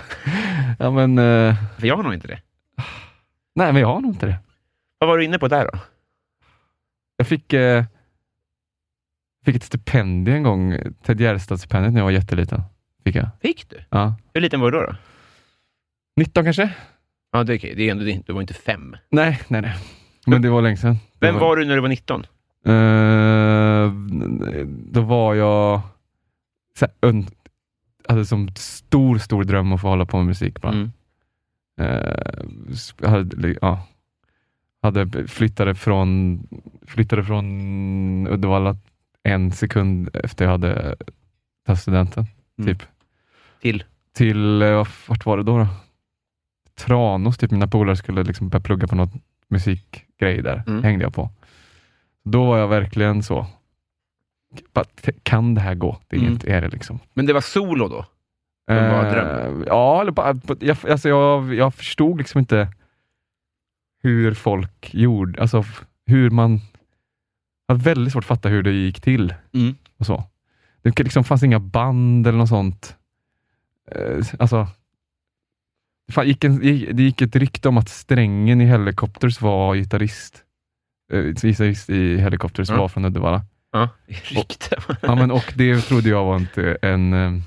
Speaker 3: ja, men... eh,
Speaker 2: För jag har nog inte det.
Speaker 3: nej, men jag har nog inte det.
Speaker 2: Vad var du inne på där då?
Speaker 3: Jag fick, eh, fick ett stipendium en gång. Ted Gärdestad-stipendiet när jag var jätteliten. Fick jag.
Speaker 2: Fick du?
Speaker 3: Ja.
Speaker 2: Hur liten var du då? då?
Speaker 3: 19 kanske?
Speaker 2: Ja, det är okej. Det är ändå, det är inte- du var inte fem.
Speaker 3: Nej, nej, nej. Men det var länge sedan. Det
Speaker 2: Vem var du när du var 19?
Speaker 3: Eh, då var jag så här, ön, hade som stor, stor dröm att få hålla på med musik. Bara.
Speaker 2: Mm.
Speaker 3: Eh, sp- hade, ja, hade flyttade från, flyttade från Uddevalla en sekund efter jag hade tagit studenten.
Speaker 2: Mm.
Speaker 3: Typ.
Speaker 2: Till?
Speaker 3: Till, eh, vart var det då? då? Tranås, typ. Mina polare skulle liksom börja plugga på något musikgrej där.
Speaker 2: Mm.
Speaker 3: hängde jag på. Då var jag verkligen så. Bara, "T- Kan det här gå? Det är,
Speaker 2: Mm.
Speaker 3: inte, är det liksom.
Speaker 2: Men det var solo då? Den var
Speaker 3: Eh,
Speaker 2: drömmen.
Speaker 3: Ja, eller bara, på- jag, alltså jag, jag förstod liksom inte hur folk gjorde, alltså f- hur man... Jag hade väldigt svårt att fatta hur det gick till.
Speaker 2: Mm.
Speaker 3: och så. Det k- liksom fanns inga band eller något sånt. Eh, alltså, det fan, gick en, gick- det gick ett rykte om att strängen i Helicopters var gitarrist. Eh, gitarrist i Helicopters
Speaker 2: Ja.
Speaker 3: var från Uddevalla.
Speaker 2: Ja. Rykte.
Speaker 3: Ja, men, och det trodde jag var inte en... eh,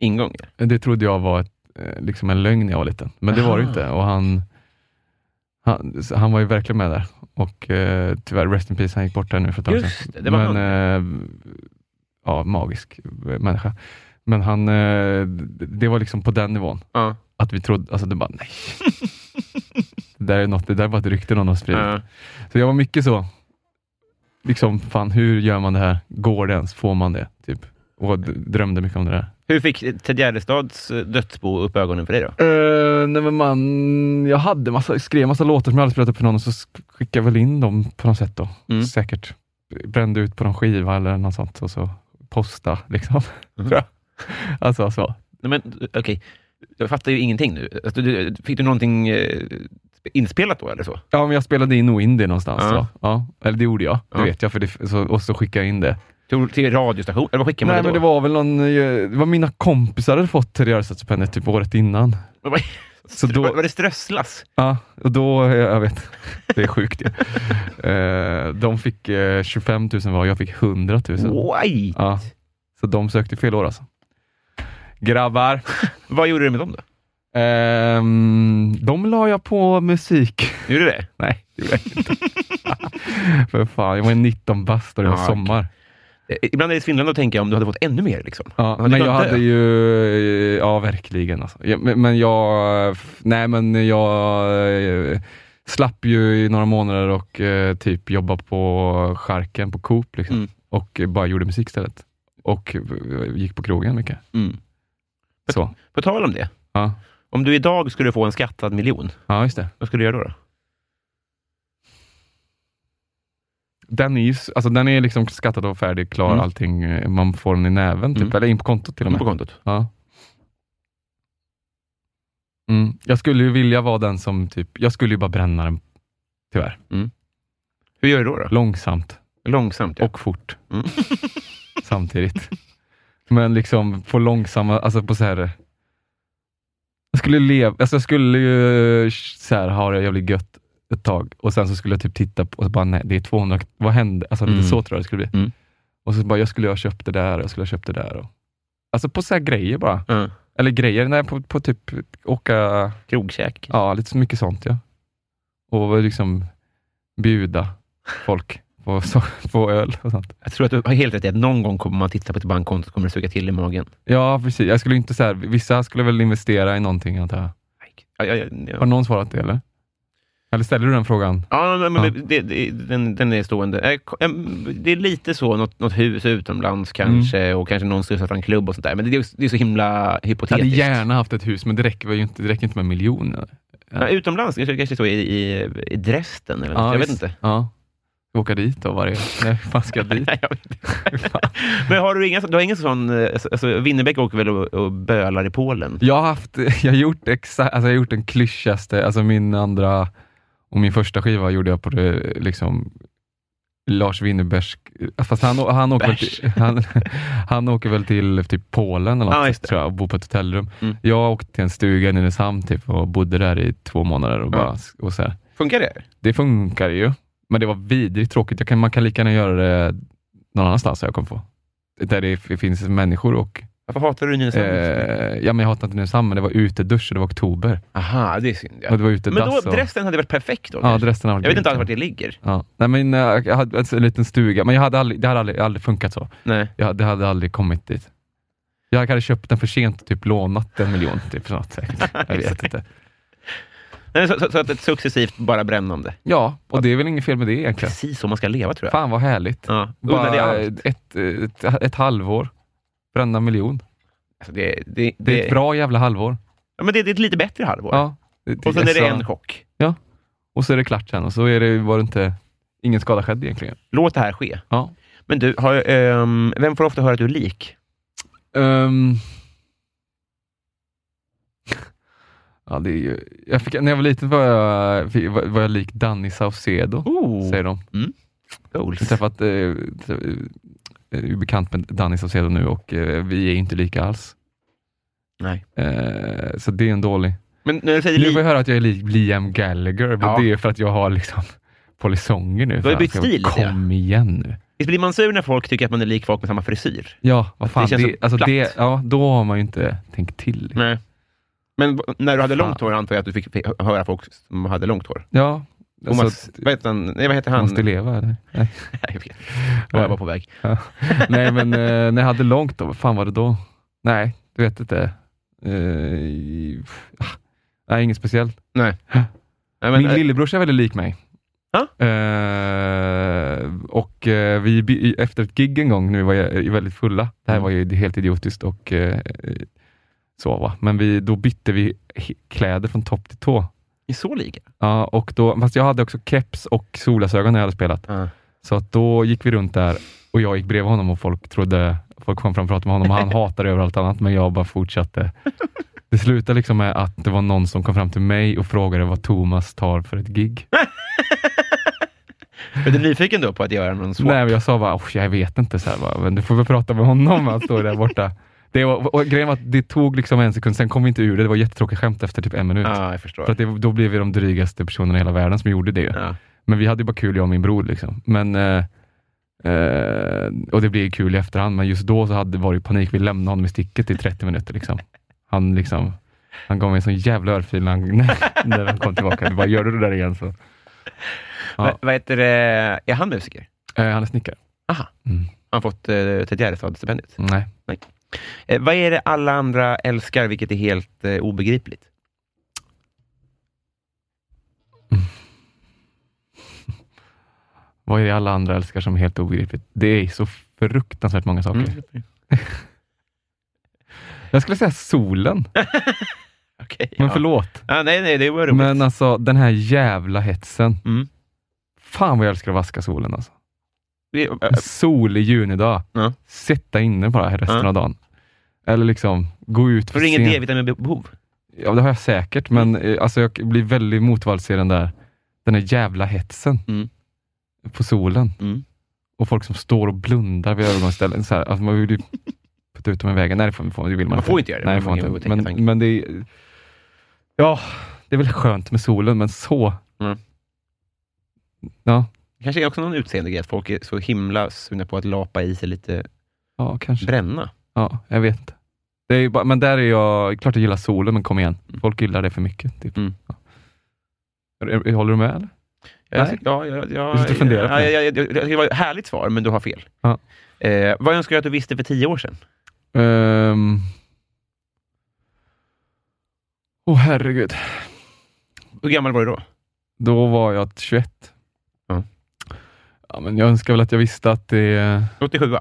Speaker 2: Ingång.
Speaker 3: det trodde jag var ett, eh, liksom en lögn när jag var liten, men det var det
Speaker 2: Aha.
Speaker 3: inte. Och han, han, så han var ju verkligen med där och eh, tyvärr, rest in peace, han gick bort där nu för ett tag
Speaker 2: Just
Speaker 3: sedan.
Speaker 2: det, det var
Speaker 3: men, eh, ja, magisk eh, människa. Men han, eh, d- det var liksom på den nivån,
Speaker 2: Ja.
Speaker 3: att vi trodde, alltså det bara nej. det där är något, det där var ett rykte någon har spridit.
Speaker 2: Ja.
Speaker 3: Så jag var mycket så, liksom fan hur gör man det här? Går det ens? Får man det? Typ. Och d- drömde mycket om det där.
Speaker 2: Hur fick Ted Gärdestads eh, dödsbo upp ögonen för dig då?
Speaker 3: Eh, nej men man, jag hade massa, skrev massa låtar som jag hade spelat upp för någon och så sk- skickade jag väl in dem på något sätt då.
Speaker 2: Mm.
Speaker 3: Säkert. Brände ut på någon skiva eller något sånt och så posta liksom.
Speaker 2: Mhm.
Speaker 3: Tror jag. Alltså så.
Speaker 2: Nej, men eh, okej. Jag fattar ju ingenting nu. Alltså, du, fick du någonting eh, inspelat då eller så?
Speaker 3: Ja, men jag spelade in och in det någonstans.
Speaker 2: Ja.
Speaker 3: Ja. Ja. Eller det gjorde jag, det
Speaker 2: Ja.
Speaker 3: vet jag. För det, så, och så skickade jag in det.
Speaker 2: Till, till radiostation? Eller vad skickar man
Speaker 3: Nej,
Speaker 2: det
Speaker 3: men
Speaker 2: då?
Speaker 3: det var väl någon, eh, det var mina kompisar hade fått Ted Gärdestad-stipendiet typ året innan.
Speaker 2: Vad-
Speaker 3: Så då,
Speaker 2: Var, var det strösslas?
Speaker 3: Ja, och då, eh, jag vet, det är sjukt ju. Eh, de fick eh, 25 000 var, jag fick 100 000.
Speaker 2: Why?
Speaker 3: Ja, så de sökte fel år alltså. Grabbar.
Speaker 2: Vad gjorde du med dem då?
Speaker 3: Ehm, de la jag på musik.
Speaker 2: Gjorde du det?
Speaker 3: Nej, det gjorde jag inte. För fan, jag var 19 bast och det var
Speaker 2: Ja,
Speaker 3: sommar.
Speaker 2: Eh, Ibland är det svindlande att tänka om du hade fått ännu mer. Liksom.
Speaker 3: Ja,
Speaker 2: det
Speaker 3: men
Speaker 2: kan
Speaker 3: jag
Speaker 2: inte
Speaker 3: hade
Speaker 2: jag.
Speaker 3: ju, ja verkligen alltså. Ja, men, men jag, f- nej men jag eh, slapp ju i några månader och eh, typ jobba på charken på Coop liksom.
Speaker 2: Mm.
Speaker 3: Och eh, bara gjorde musik istället. Och eh, gick på krogen mycket.
Speaker 2: Mm.
Speaker 3: Så.
Speaker 2: På tal om det.
Speaker 3: Ja.
Speaker 2: Om du idag skulle få en skattad miljon,
Speaker 3: ja, just det.
Speaker 2: vad skulle du göra då? då?
Speaker 3: den är, ju s- alltså, den är liksom skattad och färdig, klar,
Speaker 2: Mm.
Speaker 3: allting. eh, Man får den i näven, typ.
Speaker 2: Mm.
Speaker 3: eller in på kontot till och
Speaker 2: In
Speaker 3: med.
Speaker 2: på kontot.
Speaker 3: Ja. Mm. Jag skulle ju vilja vara den som, typ, jag skulle ju bara bränna den, tyvärr.
Speaker 2: Hur gör du då? då?
Speaker 3: Långsamt
Speaker 2: Långsamt. Ja.
Speaker 3: och fort
Speaker 2: Mm.
Speaker 3: samtidigt. Men liksom på långsamma, alltså på så här. Jag skulle leva, alltså jag skulle ju så här, ha det jävligt gött ett tag och sen så skulle jag typ titta på och så bara, nej, det är 200, vad hände? Alltså lite
Speaker 2: Mm.
Speaker 3: så tror jag det skulle bli.
Speaker 2: Mm.
Speaker 3: Och så bara, jag skulle ha köpt det där och jag skulle ha köpt det där. Och, alltså på så här grejer bara.
Speaker 2: Ja.
Speaker 3: Eller grejer, nej, på, på typ åka,
Speaker 2: Krogkäk.
Speaker 3: ja lite så mycket sånt ja. Och liksom bjuda folk på, so- på öl och sånt.
Speaker 2: Jag tror att du har helt rätt i att någon gång kommer man titta på ett bankkonto och kommer det suga till i magen.
Speaker 3: Ja, precis. Jag skulle inte så här, vissa skulle väl investera i någonting antar jag.
Speaker 2: Ja, ja, ja,
Speaker 3: Har
Speaker 2: ja.
Speaker 3: någon svarat det eller? Eller ställer du den frågan?
Speaker 2: ja men, men,
Speaker 3: Ja.
Speaker 2: Det, det, den, den är stående. Eh, ko- em, Det är lite så, något, något hus utomlands kanske
Speaker 3: Mm.
Speaker 2: och kanske någon skulle starta en klubb och sånt där. Men det är, ju- det är så himla
Speaker 3: Jag hade
Speaker 2: hypotetiskt.
Speaker 3: gärna haft ett hus, men det räcker väl ju inte, det räcker inte med miljoner.
Speaker 2: Ja, utomlands, kanske, kanske så i, i, i Dresden eller något. jag vet
Speaker 3: visst.
Speaker 2: inte.
Speaker 3: Ja. Ska åka dit då varje... Nej, fan ska jag dit?
Speaker 2: Nej, jag vet inte.
Speaker 3: Fan.
Speaker 2: Men har du, inga, du har ingen sån... eh, Alltså, Winnerbäck åker väl och, och bölar i Polen?
Speaker 3: Jag har haft, jag har gjort exakt, alltså jag har gjort den klyschigaste, alltså min andra och min första skiva gjorde jag på det, liksom Lars Winnerbärs, fast han, han, åker väl
Speaker 2: Bärs.
Speaker 3: till, han, han åker väl till typ Polen eller något,
Speaker 2: Ja, just det.
Speaker 3: tror jag, och bor på ett hotellrum.
Speaker 2: Mm.
Speaker 3: Jag åkte till en stuga i Nynäshamn typ, och bodde där i två månader. Och bara, och så här.
Speaker 2: Funkar det?
Speaker 3: Det funkar ju, men det var vidrigt tråkigt. Jag kan, man kan lika gärna göra det någon annanstans, har jag kom på. Där det f- finns människor och
Speaker 2: Varför hatar du Nynäshamn?
Speaker 3: Eh, ja, men jag hatar inte Nynäshamn, men det var utedusch och det var oktober.
Speaker 2: Aha, det är synd. Ja.
Speaker 3: Och det var utedass.
Speaker 2: Men då,
Speaker 3: och,
Speaker 2: Dresden hade varit perfekt då?
Speaker 3: ja,
Speaker 2: kanske?
Speaker 3: Dresden har
Speaker 2: jag vet inte alls vart det ligger.
Speaker 3: Ja. Nej, men, eh, jag hade alltså, en liten stuga, men jag hade aldrig, det hade aldrig, aldrig funkat så.
Speaker 2: Nej.
Speaker 3: Jag, det hade aldrig kommit dit. Jag hade köpt den för sent och typ lånat en miljon. Typ, för något, säkert. Jag vet inte.
Speaker 2: Nej, så, så, så att ett successivt bara brännande.
Speaker 3: Ja, och det är väl inget fel med det egentligen.
Speaker 2: Precis så man ska leva tror jag.
Speaker 3: Fan vad härligt.
Speaker 2: Ja, unna dig
Speaker 3: Bara
Speaker 2: allt.
Speaker 3: ett, ett, ett, ett halvår, bränna en miljon.
Speaker 2: Alltså, det, det,
Speaker 3: Det är ett bra jävla halvår.
Speaker 2: ja, men det, det är ett lite bättre halvår.
Speaker 3: Ja, det,
Speaker 2: och sen är det
Speaker 3: så-
Speaker 2: en chock.
Speaker 3: och så är det klart sen och så är det, var det inte, ingen skada skedd egentligen.
Speaker 2: Låt det här ske.
Speaker 3: Ja.
Speaker 2: Men du, har, ehm, vem får ofta höra att du är lik?
Speaker 3: Ehm. ja, det är ju... jag fick, när jag var liten var jag, fick- var, var jag lik Danny Saucedo,
Speaker 2: Oh,
Speaker 3: säger de.
Speaker 2: goals.
Speaker 3: Jag har träffat, eh, tr- eh, är bekant med Danny Saucedo nu och eh, vi är inte lika alls.
Speaker 2: Nej.
Speaker 3: Eh, så det är en dålig.
Speaker 2: Men när du säger
Speaker 3: Nu får jag
Speaker 2: lik,
Speaker 3: höra att jag är lik Liam Gallagher, men
Speaker 2: Ja.
Speaker 3: det är för att jag har liksom polisonger nu.
Speaker 2: Du har ju bytt
Speaker 3: Fan,
Speaker 2: stil lite, ja.
Speaker 3: Kom igen nu.
Speaker 2: visst blir man sur när folk tycker att man är lik folk med samma frisyr?
Speaker 3: Ja, vad
Speaker 2: Det
Speaker 3: fan. Det
Speaker 2: känns så
Speaker 3: alltså
Speaker 2: platt. Mm.
Speaker 3: det, ja, då har man ju inte tänkt till.
Speaker 2: Nej. Men v- när du hade
Speaker 3: Fan.
Speaker 2: långt hår antar jag att du fick fick höra folk som hade långt hår.
Speaker 3: Ja,
Speaker 2: Thomas,
Speaker 3: alltså,
Speaker 2: vad, heter han? Nej, vad heter han?
Speaker 3: måste leva. Eller? Nej.
Speaker 2: Nej, jag vet. Då var jag bara på väg.
Speaker 3: Nej, men eh, när jag hade långt då, vad fan var det då? Nej, du vet inte. Eh, pff, ah, nej, inget speciellt.
Speaker 2: Nej, men,
Speaker 3: Min
Speaker 2: eh,
Speaker 3: lillebrorsa är väldigt lik mig.
Speaker 2: Ja.
Speaker 3: Eh, och eh, vi, bi- i- efter ett gig en gång, nu var jag eh, väldigt fulla. Det här
Speaker 2: Mm.
Speaker 3: var ju helt idiotiskt och eh, så va. Men vi, då bytte vi he- kläder från topp till tå.
Speaker 2: är så lika?
Speaker 3: Ja, och då, fast jag hade också keps och solglasögon när jag hade spelat.
Speaker 2: Ja.
Speaker 3: Så att då gick vi runt där och jag gick bredvid honom och folk trodde, folk kom fram och pratade med honom och han hatade överallt annat, men jag bara fortsatte. Det slutade liksom med att det var någon som kom fram till mig och frågade vad Thomas tar för ett gig.
Speaker 2: Är du nyfiken då på att göra någon swap?
Speaker 3: Nej, men jag sa bara, "Oh, jag vet inte, så här, bara, men du får väl prata med honom. Han står där borta. Det var, och grejen var att det tog liksom en sekund, sen kom vi inte ur det. Det var jättetråkiga skämt efter typ en minut.
Speaker 2: Ja, jag förstår.
Speaker 3: För att det, då blev vi de drygaste personerna i hela världen som gjorde det. ju.
Speaker 2: Ja.
Speaker 3: Men vi hade ju bara kul, jag och min bror. Liksom. Men, eh, eh, och det blev ju kul i efterhand, men just då så hade var det ju panik. Vi lämnade honom i sticket i 30 minuter. Liksom. Han, liksom, han gav mig en sån jävla örfil när han, när han kom tillbaka. Du bara, gör du det där igen så... Ja.
Speaker 2: Men, vad heter det? Är han musiker?
Speaker 3: Eh, han är snickare.
Speaker 2: Har han fått eh, Ted Gärdestad-stipendiet?
Speaker 3: Nej.
Speaker 2: Eh, vad är det alla andra älskar, vilket är helt eh, obegripligt?
Speaker 3: Vad är det alla andra älskar som är helt obegripligt? Det är så fruktansvärt många saker.
Speaker 2: Mm.
Speaker 3: Jag skulle säga solen,
Speaker 2: Okej.
Speaker 3: men
Speaker 2: ja.
Speaker 3: förlåt.
Speaker 2: Ah, nej, nej, det var roligt.
Speaker 3: Men alltså den här jävla hetsen.
Speaker 2: Mm.
Speaker 3: Fan vad jag älskar att vaska solen alltså.
Speaker 2: Det-
Speaker 3: En solig junidag.
Speaker 2: Ja.
Speaker 3: Sätta inne bara resten
Speaker 2: Ja.
Speaker 3: av dagen. Eller liksom, gå ut
Speaker 2: Får
Speaker 3: för
Speaker 2: du inget
Speaker 3: sent.
Speaker 2: D-vitaminbehov?
Speaker 3: Ja, det har jag säkert, men
Speaker 2: Mm.
Speaker 3: eh, alltså, jag blir väldigt motvalls i den där, den där jävla hetsen
Speaker 2: Mm.
Speaker 3: på solen.
Speaker 2: Mm.
Speaker 3: Och folk som står och blundar vid övergångsställen. Så här, alltså, man vill ju putta ut dem i vägen. Nej, det, får, får- det vill man,
Speaker 2: Man får inte göra det.
Speaker 3: Nej,
Speaker 2: Man kan
Speaker 3: det får man
Speaker 2: ju
Speaker 3: inte.
Speaker 2: tänka tanken.
Speaker 3: Men, men det är... Ja, det är väl skönt med solen, men så...
Speaker 2: Mm.
Speaker 3: Ja,
Speaker 2: Det kanske är också någon utseende grej, att folk är så himla sugna på att lapa i sig lite
Speaker 3: ja, kanske.
Speaker 2: bränna.
Speaker 3: Ja, jag vet inte. Det är ju bara, men där är jag, klart jag gillar solen, men kom igen. Folk gillar det för mycket. Typ.
Speaker 2: Mm.
Speaker 3: Ja. Är- är- Håller du med? Eller?
Speaker 2: Jag,
Speaker 3: Nej.
Speaker 2: ja, ja, ja,
Speaker 3: Du sitter och funderar på
Speaker 2: ja,
Speaker 3: det.
Speaker 2: ja, ja, det. Det var ett härligt svar, men du har fel.
Speaker 3: Ja.
Speaker 2: Eh, vad önskar du att du visste för tio år sedan?
Speaker 3: Åh
Speaker 2: Ehm.
Speaker 3: oh, herregud.
Speaker 2: Hur gammal var du då?
Speaker 3: Då var jag 21.
Speaker 2: Ja.
Speaker 3: Ja, men jag önskar väl att jag visste att det...
Speaker 2: 87?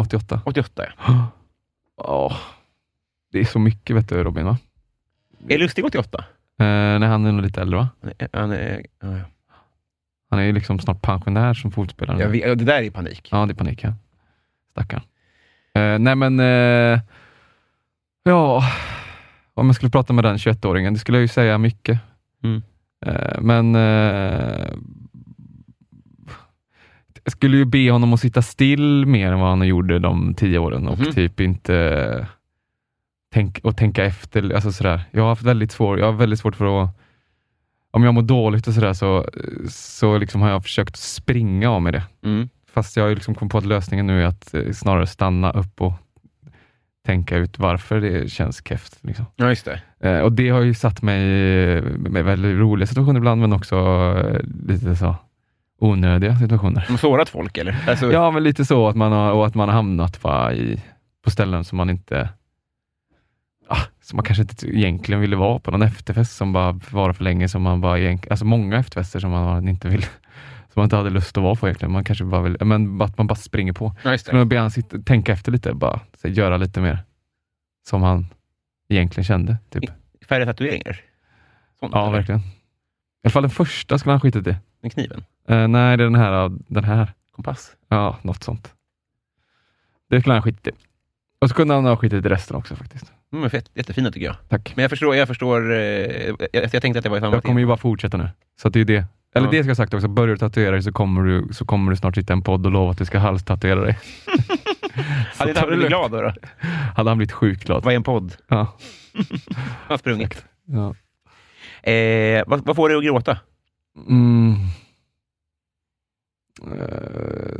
Speaker 3: 88.
Speaker 2: 88, ja.
Speaker 3: Ja, det är så mycket vet du Robin, va?
Speaker 2: Är Lustig 88?
Speaker 3: Eh, nej, han är nog lite äldre, va?
Speaker 2: Han är- Han är, ja, ja.
Speaker 3: Han är ju liksom snart pensionär som fotbollsspelare. nu.
Speaker 2: jag vet, ja, det där är panik.
Speaker 3: Ja, det är panik. Ja. Stackarn. Eh, nej, men... eh, ja, om jag skulle prata med den 21-åringen, det skulle jag ju säga mycket.
Speaker 2: Mm.
Speaker 3: Eh, men... eh, jag skulle ju be honom att sitta still mer än vad han gjorde de tio åren och
Speaker 2: Mhm.
Speaker 3: typ inte tänk, och tänka efter. Alltså sådär. Jag har haft väldigt svårt, jag har väldigt svårt för att om jag mår dåligt och sådär så, så liksom har jag försökt springa av mig det.
Speaker 2: Mm.
Speaker 3: Fast jag har ju liksom kommit på att lösningen nu är att eh, snarare stanna upp och tänka ut varför det känns keft. Liksom.
Speaker 2: Ja, just det.
Speaker 3: Eh, och det har ju satt mig i med väldigt roliga situationer ibland, men också eh, lite så onödiga situationer.
Speaker 2: De har sårat folk, eller? Alltså,
Speaker 3: Ja, men lite så att man har, och att man har hamnat bara i, på ställen som man inte ah, som man kanske inte egentligen ville vara på. Någon efterfest som bara var för länge. Som man bara egent, alltså många efterfester som man inte vill som man inte hade lust att vara på egentligen. Man kanske bara vill, men att man bara springer på.
Speaker 2: ja, just
Speaker 3: Men
Speaker 2: det.
Speaker 3: jag ber han sitta, tänka efter lite, bara så, här, göra lite mer som han egentligen kände. Typ.
Speaker 2: Färre tatueringar? Sånt,
Speaker 3: Ja,
Speaker 2: eller?
Speaker 3: verkligen. I alla fall den första skulle han skitit i.
Speaker 2: Med kniven?
Speaker 3: Eh, nej, det är den här. Den här.
Speaker 2: Kompass?
Speaker 3: Ja, något sånt. Det skulle han skitit i. Och så kunde han ha skitit i resten också faktiskt.
Speaker 2: Mm, men fett, jättefina tycker jag.
Speaker 3: Tack.
Speaker 2: Men jag förstår, jag förstår. Eh, jag, jag tänkte att det var i samma
Speaker 3: Jag kommer
Speaker 2: tema.
Speaker 3: ju bara fortsätta nu. Så att det är det. Eller
Speaker 2: Ja.
Speaker 3: det ska jag ha sagt också. Börjar du tatuera dig så kommer du, så kommer du snart sitta i en podd och lova att du ska halstatuera dig. Så
Speaker 2: Hade inte
Speaker 3: ta
Speaker 2: han
Speaker 3: det
Speaker 2: blivit glad
Speaker 3: lugnt.
Speaker 2: då? då?
Speaker 3: Hade han blivit sjukt glad.
Speaker 2: Vad är en podd?
Speaker 3: Ja.
Speaker 2: Han har sprungit.
Speaker 3: ja.
Speaker 2: Eh, vad, vad får du att gråta?
Speaker 3: Mm. Eh,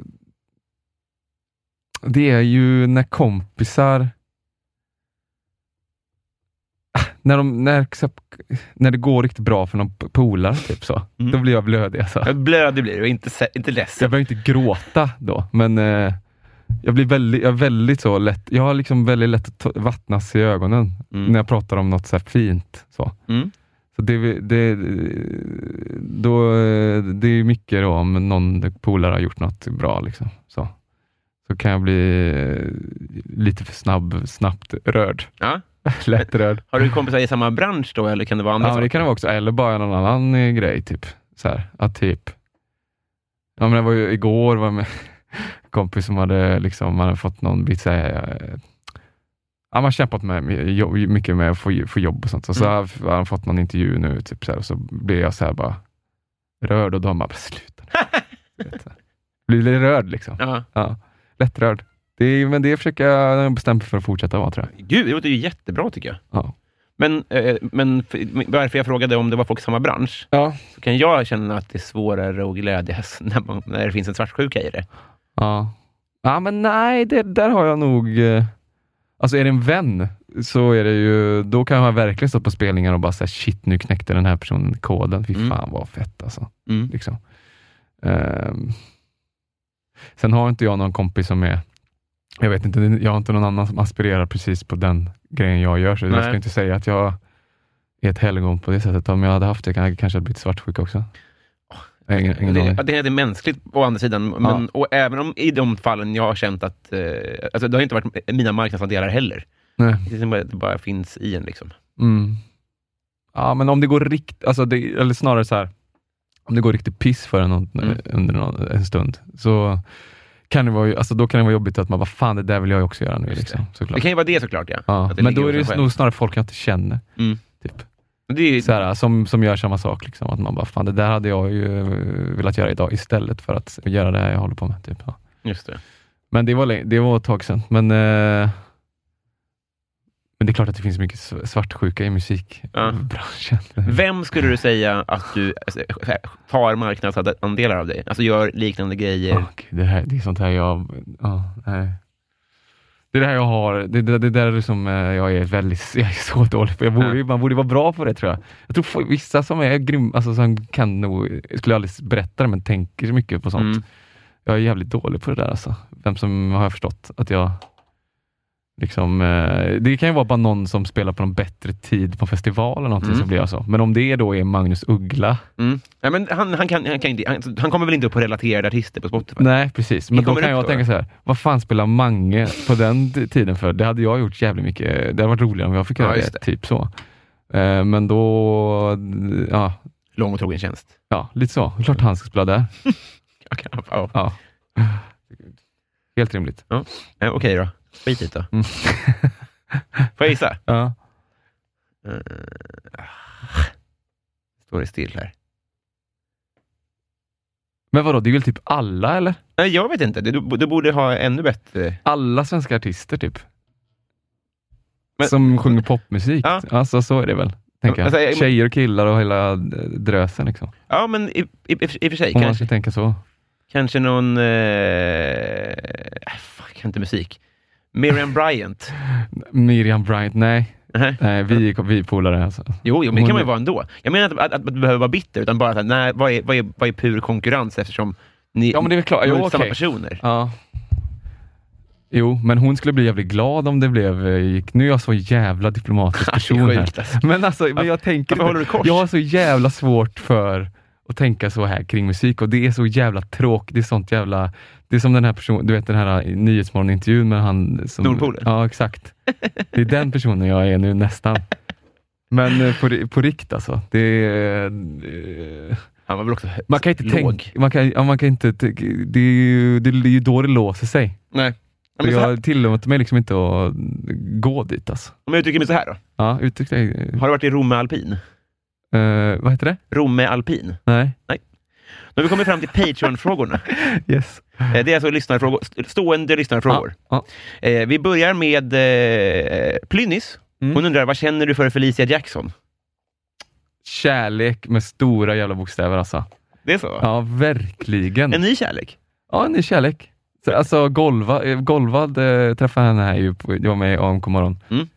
Speaker 3: Det är ju när kompisar... Ah, När, de, när, när det går riktigt bra för någon p- polare, typ så.
Speaker 2: Mm.
Speaker 3: Då blir jag blödig. Alltså.
Speaker 2: Ja, Blödig blir du, inte, se- inte
Speaker 3: Jag
Speaker 2: ledsen.
Speaker 3: behöver inte gråta då, men eh, jag blir väldigt, jag är väldigt så lätt. Jag har liksom väldigt lätt att ta- vattnas i ögonen
Speaker 2: Mm.
Speaker 3: när jag pratar om något så här fint. Så.
Speaker 2: Mm.
Speaker 3: Så det, det, då, eh, det är mycket då om någon polare har gjort något bra. Liksom. Så. så kan jag bli eh, lite för snabb, snabbt rörd.
Speaker 2: Ja.
Speaker 3: Lätt rörd.
Speaker 2: Har du kompisar i samma bransch då, eller kan det vara andra
Speaker 3: Ja, men det kan det vara också. Eller bara någon annan eh, grej. Typ. Så här, att typ... Ja, men det var ju igår var jag med en kompis som hade, liksom, man hade fått någon bit så här, eh, Ja, man har kämpat med, med jobb- mycket med att få, få jobb och sånt. Och så
Speaker 2: Mm.
Speaker 3: har han fått någon intervju nu typ så här, och så blir jag så här bara rörd och de bara, "Men sluta nu." Du vet, så här. Blir lite rörd liksom.
Speaker 2: Ja.
Speaker 3: Ja. Lättrörd. Det är, men det försöker jag bestämma mig för att fortsätta vara tror jag.
Speaker 2: Gud, det låter ju jättebra tycker jag.
Speaker 3: Ja.
Speaker 2: Men, eh, men för, varför jag frågade om det var folk i samma bransch,
Speaker 3: Ja.
Speaker 2: så kan jag känna att det är svårare att glädjas när, man, när det finns en svartsjuka i det.
Speaker 3: Ja. Ja, men nej, det, där har jag nog... eh, Alltså är det en vän, så är det ju, då kan jag verkligen stå på spelningar och bara säga shit, nu knäckte den här personen koden. Fy
Speaker 2: Mm.
Speaker 3: fan vad fett alltså.
Speaker 2: Mm.
Speaker 3: Liksom. Ehm. Sen har inte jag någon kompis som är, jag vet inte, jag har inte någon annan som aspirerar precis på den grejen jag gör, så
Speaker 2: Nej.
Speaker 3: jag ska inte säga att jag är ett helgon på det sättet. Om jag hade haft det kan jag kanske hade blivit svartsjuk också. Jag har ingen, ingen
Speaker 2: det,
Speaker 3: aning.
Speaker 2: ja, det är mänskligt å andra sidan, men, och även om i de fallen jag har känt att... Eh, alltså, det har inte varit mina marknadsandelar heller.
Speaker 3: Nej.
Speaker 2: Det är som att det bara finns i en. Liksom.
Speaker 3: Mm. Ja, men om det går rikt, alltså det, eller snarare så här. om det går riktigt piss för en någon,
Speaker 2: Mm.
Speaker 3: under någon, en stund, så kan det vara, ju- alltså, då kan det vara jobbigt att man bara, fan det där vill jag ju också göra nu.
Speaker 2: Just
Speaker 3: Liksom,
Speaker 2: Det
Speaker 3: såklart.
Speaker 2: kan ju vara det såklart, ja.
Speaker 3: Ja,
Speaker 2: Att
Speaker 3: men då
Speaker 2: ligger hos en
Speaker 3: är det
Speaker 2: själv.
Speaker 3: nog snarare folk jag inte känner,
Speaker 2: Mm.
Speaker 3: typ.
Speaker 2: Men Det är ju,
Speaker 3: så här, som, som gör samma sak. Liksom, att man bara, fan det där hade jag ju eh, velat göra idag istället för att göra det här jag håller på med. Typ. Ja.
Speaker 2: just det.
Speaker 3: Men det var, lä- det var ett tag sedan. Men, eh, men det är klart att det finns mycket sv- svartsjuka i
Speaker 2: Ja.
Speaker 3: musikbranschen.
Speaker 2: Vem skulle du säga att du alltså, tar marknadsandelar av dig? Alltså gör liknande grejer?
Speaker 3: Åh, Gud, det, här, det är sånt här jag... ja, nej. Det är det här jag har. Det, det, det där är som eh, jag är väldigt... Jag är så dålig på. Jag borde, ju- Man borde vara bra på det tror jag. Jag tror få- vissa som är grymma, alltså, som kan nog... Jag skulle aldrig berätta det, men tänker så mycket på sånt.
Speaker 2: Mm.
Speaker 3: Jag är jävligt dålig på det där alltså. Vem som har jag förstått att jag liksom, eh, det kan ju vara bara någon som spelar på någon bättre tid på en festival eller någonting
Speaker 2: Mm.
Speaker 3: så blir jag så. Men om det då är Magnus Uggla.
Speaker 2: Mm. Ja, men han, han, kan, han, kan, inte- han, han kommer väl inte upp på relaterade artister på Spotify?
Speaker 3: Nej precis, men
Speaker 2: Det
Speaker 3: då
Speaker 2: kommer
Speaker 3: kan
Speaker 2: upp
Speaker 3: jag
Speaker 2: då,
Speaker 3: tänka så här. vad fan spelar Mange på den t- tiden för? Det hade jag gjort jävligt mycket. Det hade varit roligare om jag fick
Speaker 2: Ja,
Speaker 3: göra
Speaker 2: just
Speaker 3: det, Typ så. Eh, Men då, ja,
Speaker 2: Lång och trogen tjänst.
Speaker 3: ja, lite så. Klart han ska spela där.
Speaker 2: Okej, ja.
Speaker 3: Ja. Helt rimligt.
Speaker 2: Eh, Okej då. Skit i det då.
Speaker 3: Mm.
Speaker 2: Får jag gissa?
Speaker 3: Ja.
Speaker 2: Eh, Står det still här?
Speaker 3: Men vadå, det är väl typ alla eller?
Speaker 2: Nej, jag vet inte. Du, du borde ha ännu bättre...
Speaker 3: alla svenska artister typ.
Speaker 2: Men-
Speaker 3: som sjunger popmusik.
Speaker 2: Ja.
Speaker 3: Alltså så är det väl, tänker jag.
Speaker 2: Alltså, jag-
Speaker 3: Tjejer och killar och hela eh, drösen liksom.
Speaker 2: Ja, men i, i, i, och för sig.
Speaker 3: Om man ska
Speaker 2: Kanske,
Speaker 3: tänka så.
Speaker 2: kanske någon... Eh, äh, fan, jag kan inte musik. Miriam Bryant.
Speaker 3: Miriam Bryant, nej.
Speaker 2: Nej.
Speaker 3: nej vi, är- vi är polare alltså.
Speaker 2: Jo, jo, men det
Speaker 3: Hon-
Speaker 2: kan man ju vara ändå. Jag menar inte att, att, att du behöver vara bitter, utan bara att nej, vad, är, vad, är, vad är pur konkurrens eftersom ni
Speaker 3: Ja men det är väl klart,
Speaker 2: ni
Speaker 3: jo
Speaker 2: är samma
Speaker 3: okej.
Speaker 2: personer?
Speaker 3: Ja. Jo, men hon skulle bli jävligt glad om det blev, eh, gick. nu är jag så jävla diplomatisk person här.
Speaker 2: Sjukt alltså.
Speaker 3: Men alltså, men jag tänker
Speaker 2: varför
Speaker 3: inte-
Speaker 2: håller du kors?
Speaker 3: Jag har så jävla svårt för att tänka så här kring musik och det är så jävla tråkigt. Det är sånt jävla... Det är som den här personen, du vet den här eh, Nyhetsmorgon-intervjun med han som...
Speaker 2: Nordpolen?
Speaker 3: Ja, exakt. Det är den personen jag är nu nästan. Men eh, på, ri- på rikt alltså. Det är, eh,
Speaker 2: Han var väl också
Speaker 3: man kan inte
Speaker 2: låg.
Speaker 3: tänka... Man kan, ja, man kan inte, tänk- det, är ju, det är ju då det låser sig.
Speaker 2: Nej. Ja,
Speaker 3: Och
Speaker 2: Men så här,
Speaker 3: jag tillåter mig liksom inte att gå dit alltså.
Speaker 2: om jag uttrycker mig så här då.
Speaker 3: Ja, uttryck dig.
Speaker 2: Har du varit i Romme Alpin?
Speaker 3: Eh, vad heter det?
Speaker 2: Romme Alpin?
Speaker 3: Nej.
Speaker 2: Nu har vi kommit fram till Patreon-frågorna.
Speaker 3: Yes.
Speaker 2: Eh, Det är alltså lyssnarfrågor, st- stående lyssnarfrågor.
Speaker 3: Ja,
Speaker 2: Eh, Vi börjar med eh, Plynnis.
Speaker 3: Mm.
Speaker 2: Hon undrar, vad känner du för Felicia Jackson?
Speaker 3: Kärlek med stora jävla bokstäver alltså.
Speaker 2: Det är så? va?
Speaker 3: Ja, verkligen.
Speaker 2: En ny kärlek?
Speaker 3: Ja, en ny kärlek. Så, alltså golva, eh, Golvad eh, träffade henne här ju, på- jag var med i AMK morgon
Speaker 2: Mm.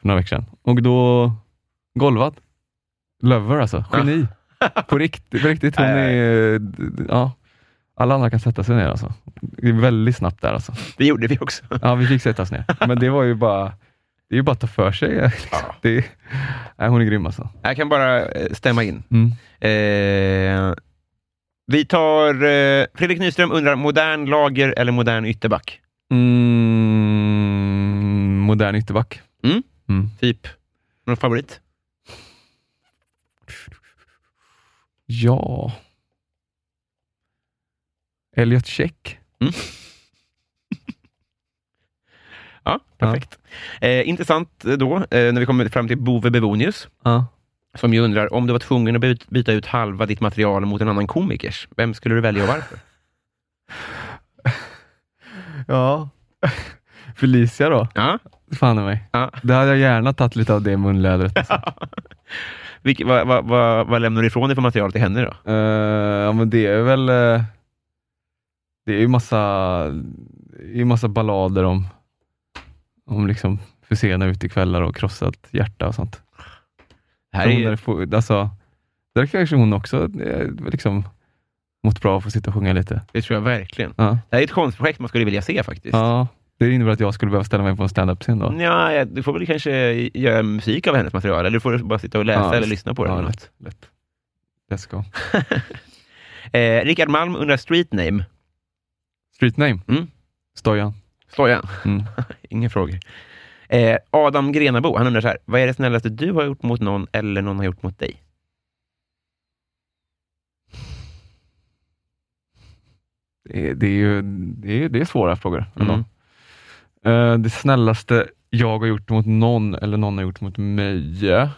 Speaker 3: för några veckor sedan. Och då, Golvad, lover alltså, geni. på, riktigt, på riktigt, hon
Speaker 2: Nej, nej.
Speaker 3: är, eh, d- d- ja. Alla andra kan sätta sig ner alltså. Det är väldigt snabbt där alltså.
Speaker 2: Det gjorde vi också.
Speaker 3: Ja, vi fick sätta oss ner. Men det var ju bara, det är ju bara att ta för sig. Liksom.
Speaker 2: Ja.
Speaker 3: Det, nej, hon är grym alltså.
Speaker 2: Jag kan bara eh, stämma in.
Speaker 3: Mm.
Speaker 2: Eh, vi tar... Eh, Fredrik Nyström undrar, modern lager eller modern ytterback?
Speaker 3: Mm, modern ytterback.
Speaker 2: Mm.
Speaker 3: Mm.
Speaker 2: Typ. Någon favorit?
Speaker 3: Ja. Elliot Check.
Speaker 2: Ja, perfekt. Eh, intressant eh, då, eh, när vi kommer fram till Bove Bevonius,
Speaker 3: Ja.
Speaker 2: som ju undrar, om du var tvungen att byt- byta ut halva ditt material mot en annan komikers, vem skulle du välja och varför?
Speaker 3: ja. Felicia då.
Speaker 2: Ja.
Speaker 3: Fan i mig.
Speaker 2: Ja.
Speaker 3: Det hade jag gärna tagit lite av det munlädret. Alltså.
Speaker 2: Vilke, vad, vad, vad, vad lämnar du ifrån dig för material till henne då?
Speaker 3: Eh, ja, men det är väl... eh, det är ju massa, det är ju massa ballader om, om liksom för sena utekvällar och krossat hjärta och sånt.
Speaker 2: Här
Speaker 3: Hon är,
Speaker 2: är,
Speaker 3: få- alltså, där kanske hon också eh, liksom mått bra av att få sitta och sjunga lite.
Speaker 2: det tror jag verkligen.
Speaker 3: Ja.
Speaker 2: Det här är ett konstprojekt man skulle vilja se faktiskt. Mm.
Speaker 3: ja. Det innebär att jag skulle behöva ställa mig på en standup-scen då.
Speaker 2: Nja, ja, du får väl kanske göra musik av hennes material, eller du får bara sitta och läsa
Speaker 3: Ja,
Speaker 2: eller
Speaker 3: visst.
Speaker 2: lyssna på det.
Speaker 3: Ja,
Speaker 2: eller något.
Speaker 3: lätt, lätt. Let's go.
Speaker 2: Eh, Rickard Malm undrar street name.
Speaker 3: Street name?
Speaker 2: Mm.
Speaker 3: Stojan.
Speaker 2: Stojan.
Speaker 3: Mm.
Speaker 2: Inga frågor. Eh, Adam Grenabo, han undrar så här, vad är det snällaste du har gjort mot någon eller någon har gjort mot dig?
Speaker 3: Det är, det är ju det är, det är svåra frågor. ändå.
Speaker 2: Mm.
Speaker 3: Eh, det snällaste jag har gjort mot någon eller någon har gjort mot mig. eh.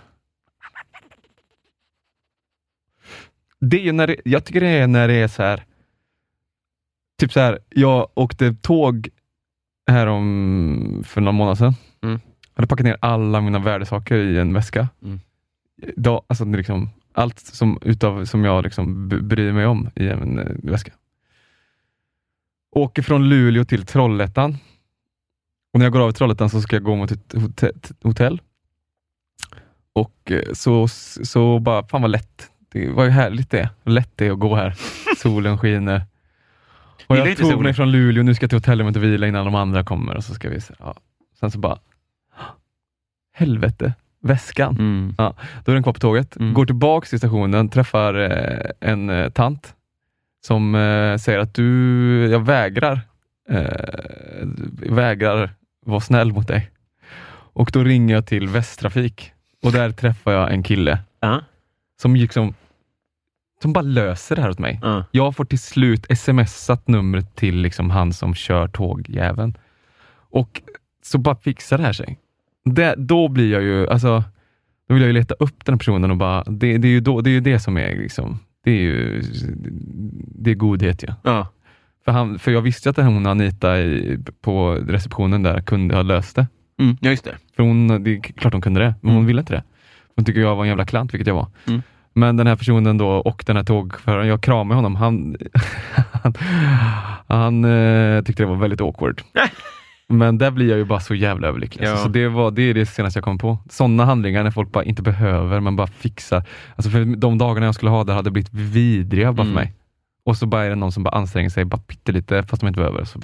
Speaker 3: Det är ju när det, jag tycker det är när det är så här. Typ så här, jag åkte tåg här om för några månader sedan.
Speaker 2: Mm.
Speaker 3: Jag hade packat ner alla mina värdesaker i en väska.
Speaker 2: Mm.
Speaker 3: Da, alltså det är liksom, allt som, utav, som jag liksom b- bryr mig om i en eh, väska. Åker från Luleå till Trollhättan. Och när jag går av i Trollhättan så ska jag gå mot ett hotell. hotell. Och eh, så, så bara, fan vad lätt. Det var ju härligt det. Vad lätt det är att gå här. Solen skiner. Och
Speaker 2: Gillar
Speaker 3: jag
Speaker 2: inte
Speaker 3: tog
Speaker 2: solen.
Speaker 3: mig från Luleå, nu ska jag till hotellrummet och vila innan de andra kommer. Och så ska vi, se- ja. Sen så bara, helvete, väskan.
Speaker 2: Mm.
Speaker 3: Då är den kvar på tåget,
Speaker 2: Mm.
Speaker 3: går tillbaks till stationen, träffar eh, en eh, tant som eh, säger att du, jag vägrar, eh, vägrar vara snäll mot dig. Och då ringer jag till Västtrafik och där träffar jag en kille
Speaker 2: Ja.
Speaker 3: som liksom, som bara löser det här åt mig.
Speaker 2: Ja.
Speaker 3: Jag får till slut smsat numret till liksom han som kör tågjäveln. Och så bara fixar det här sig. Det, då blir jag ju, alltså, då vill jag ju leta upp den här personen och bara, det, det, är, ju då, det är ju det som är liksom, det är ju, det är godhet ja.
Speaker 2: Ja.
Speaker 3: För, han, för jag visste ju att den här hon Anita i, på receptionen där kunde ha löst det.
Speaker 2: Mm. ja, just det.
Speaker 3: För hon, det är klart hon kunde det, men hon
Speaker 2: Mm.
Speaker 3: ville inte det. Hon tycker jag var en jävla klant, vilket jag var.
Speaker 2: Mm.
Speaker 3: Men den här personen då och den här tågföraren, jag kramade honom. Han, han, han eh, tyckte det var väldigt awkward. Men där blir jag ju bara så jävla överlycklig.
Speaker 2: Ja.
Speaker 3: Alltså, så det, var, det är det senaste jag kom på. Sådana handlingar när folk bara inte behöver, men bara fixar. Alltså för de dagarna jag skulle ha där hade blivit vidriga bara
Speaker 2: Mm.
Speaker 3: för mig. Och så bara är det någon som bara anstränger sig bara pyttelite, fast de inte behöver. Så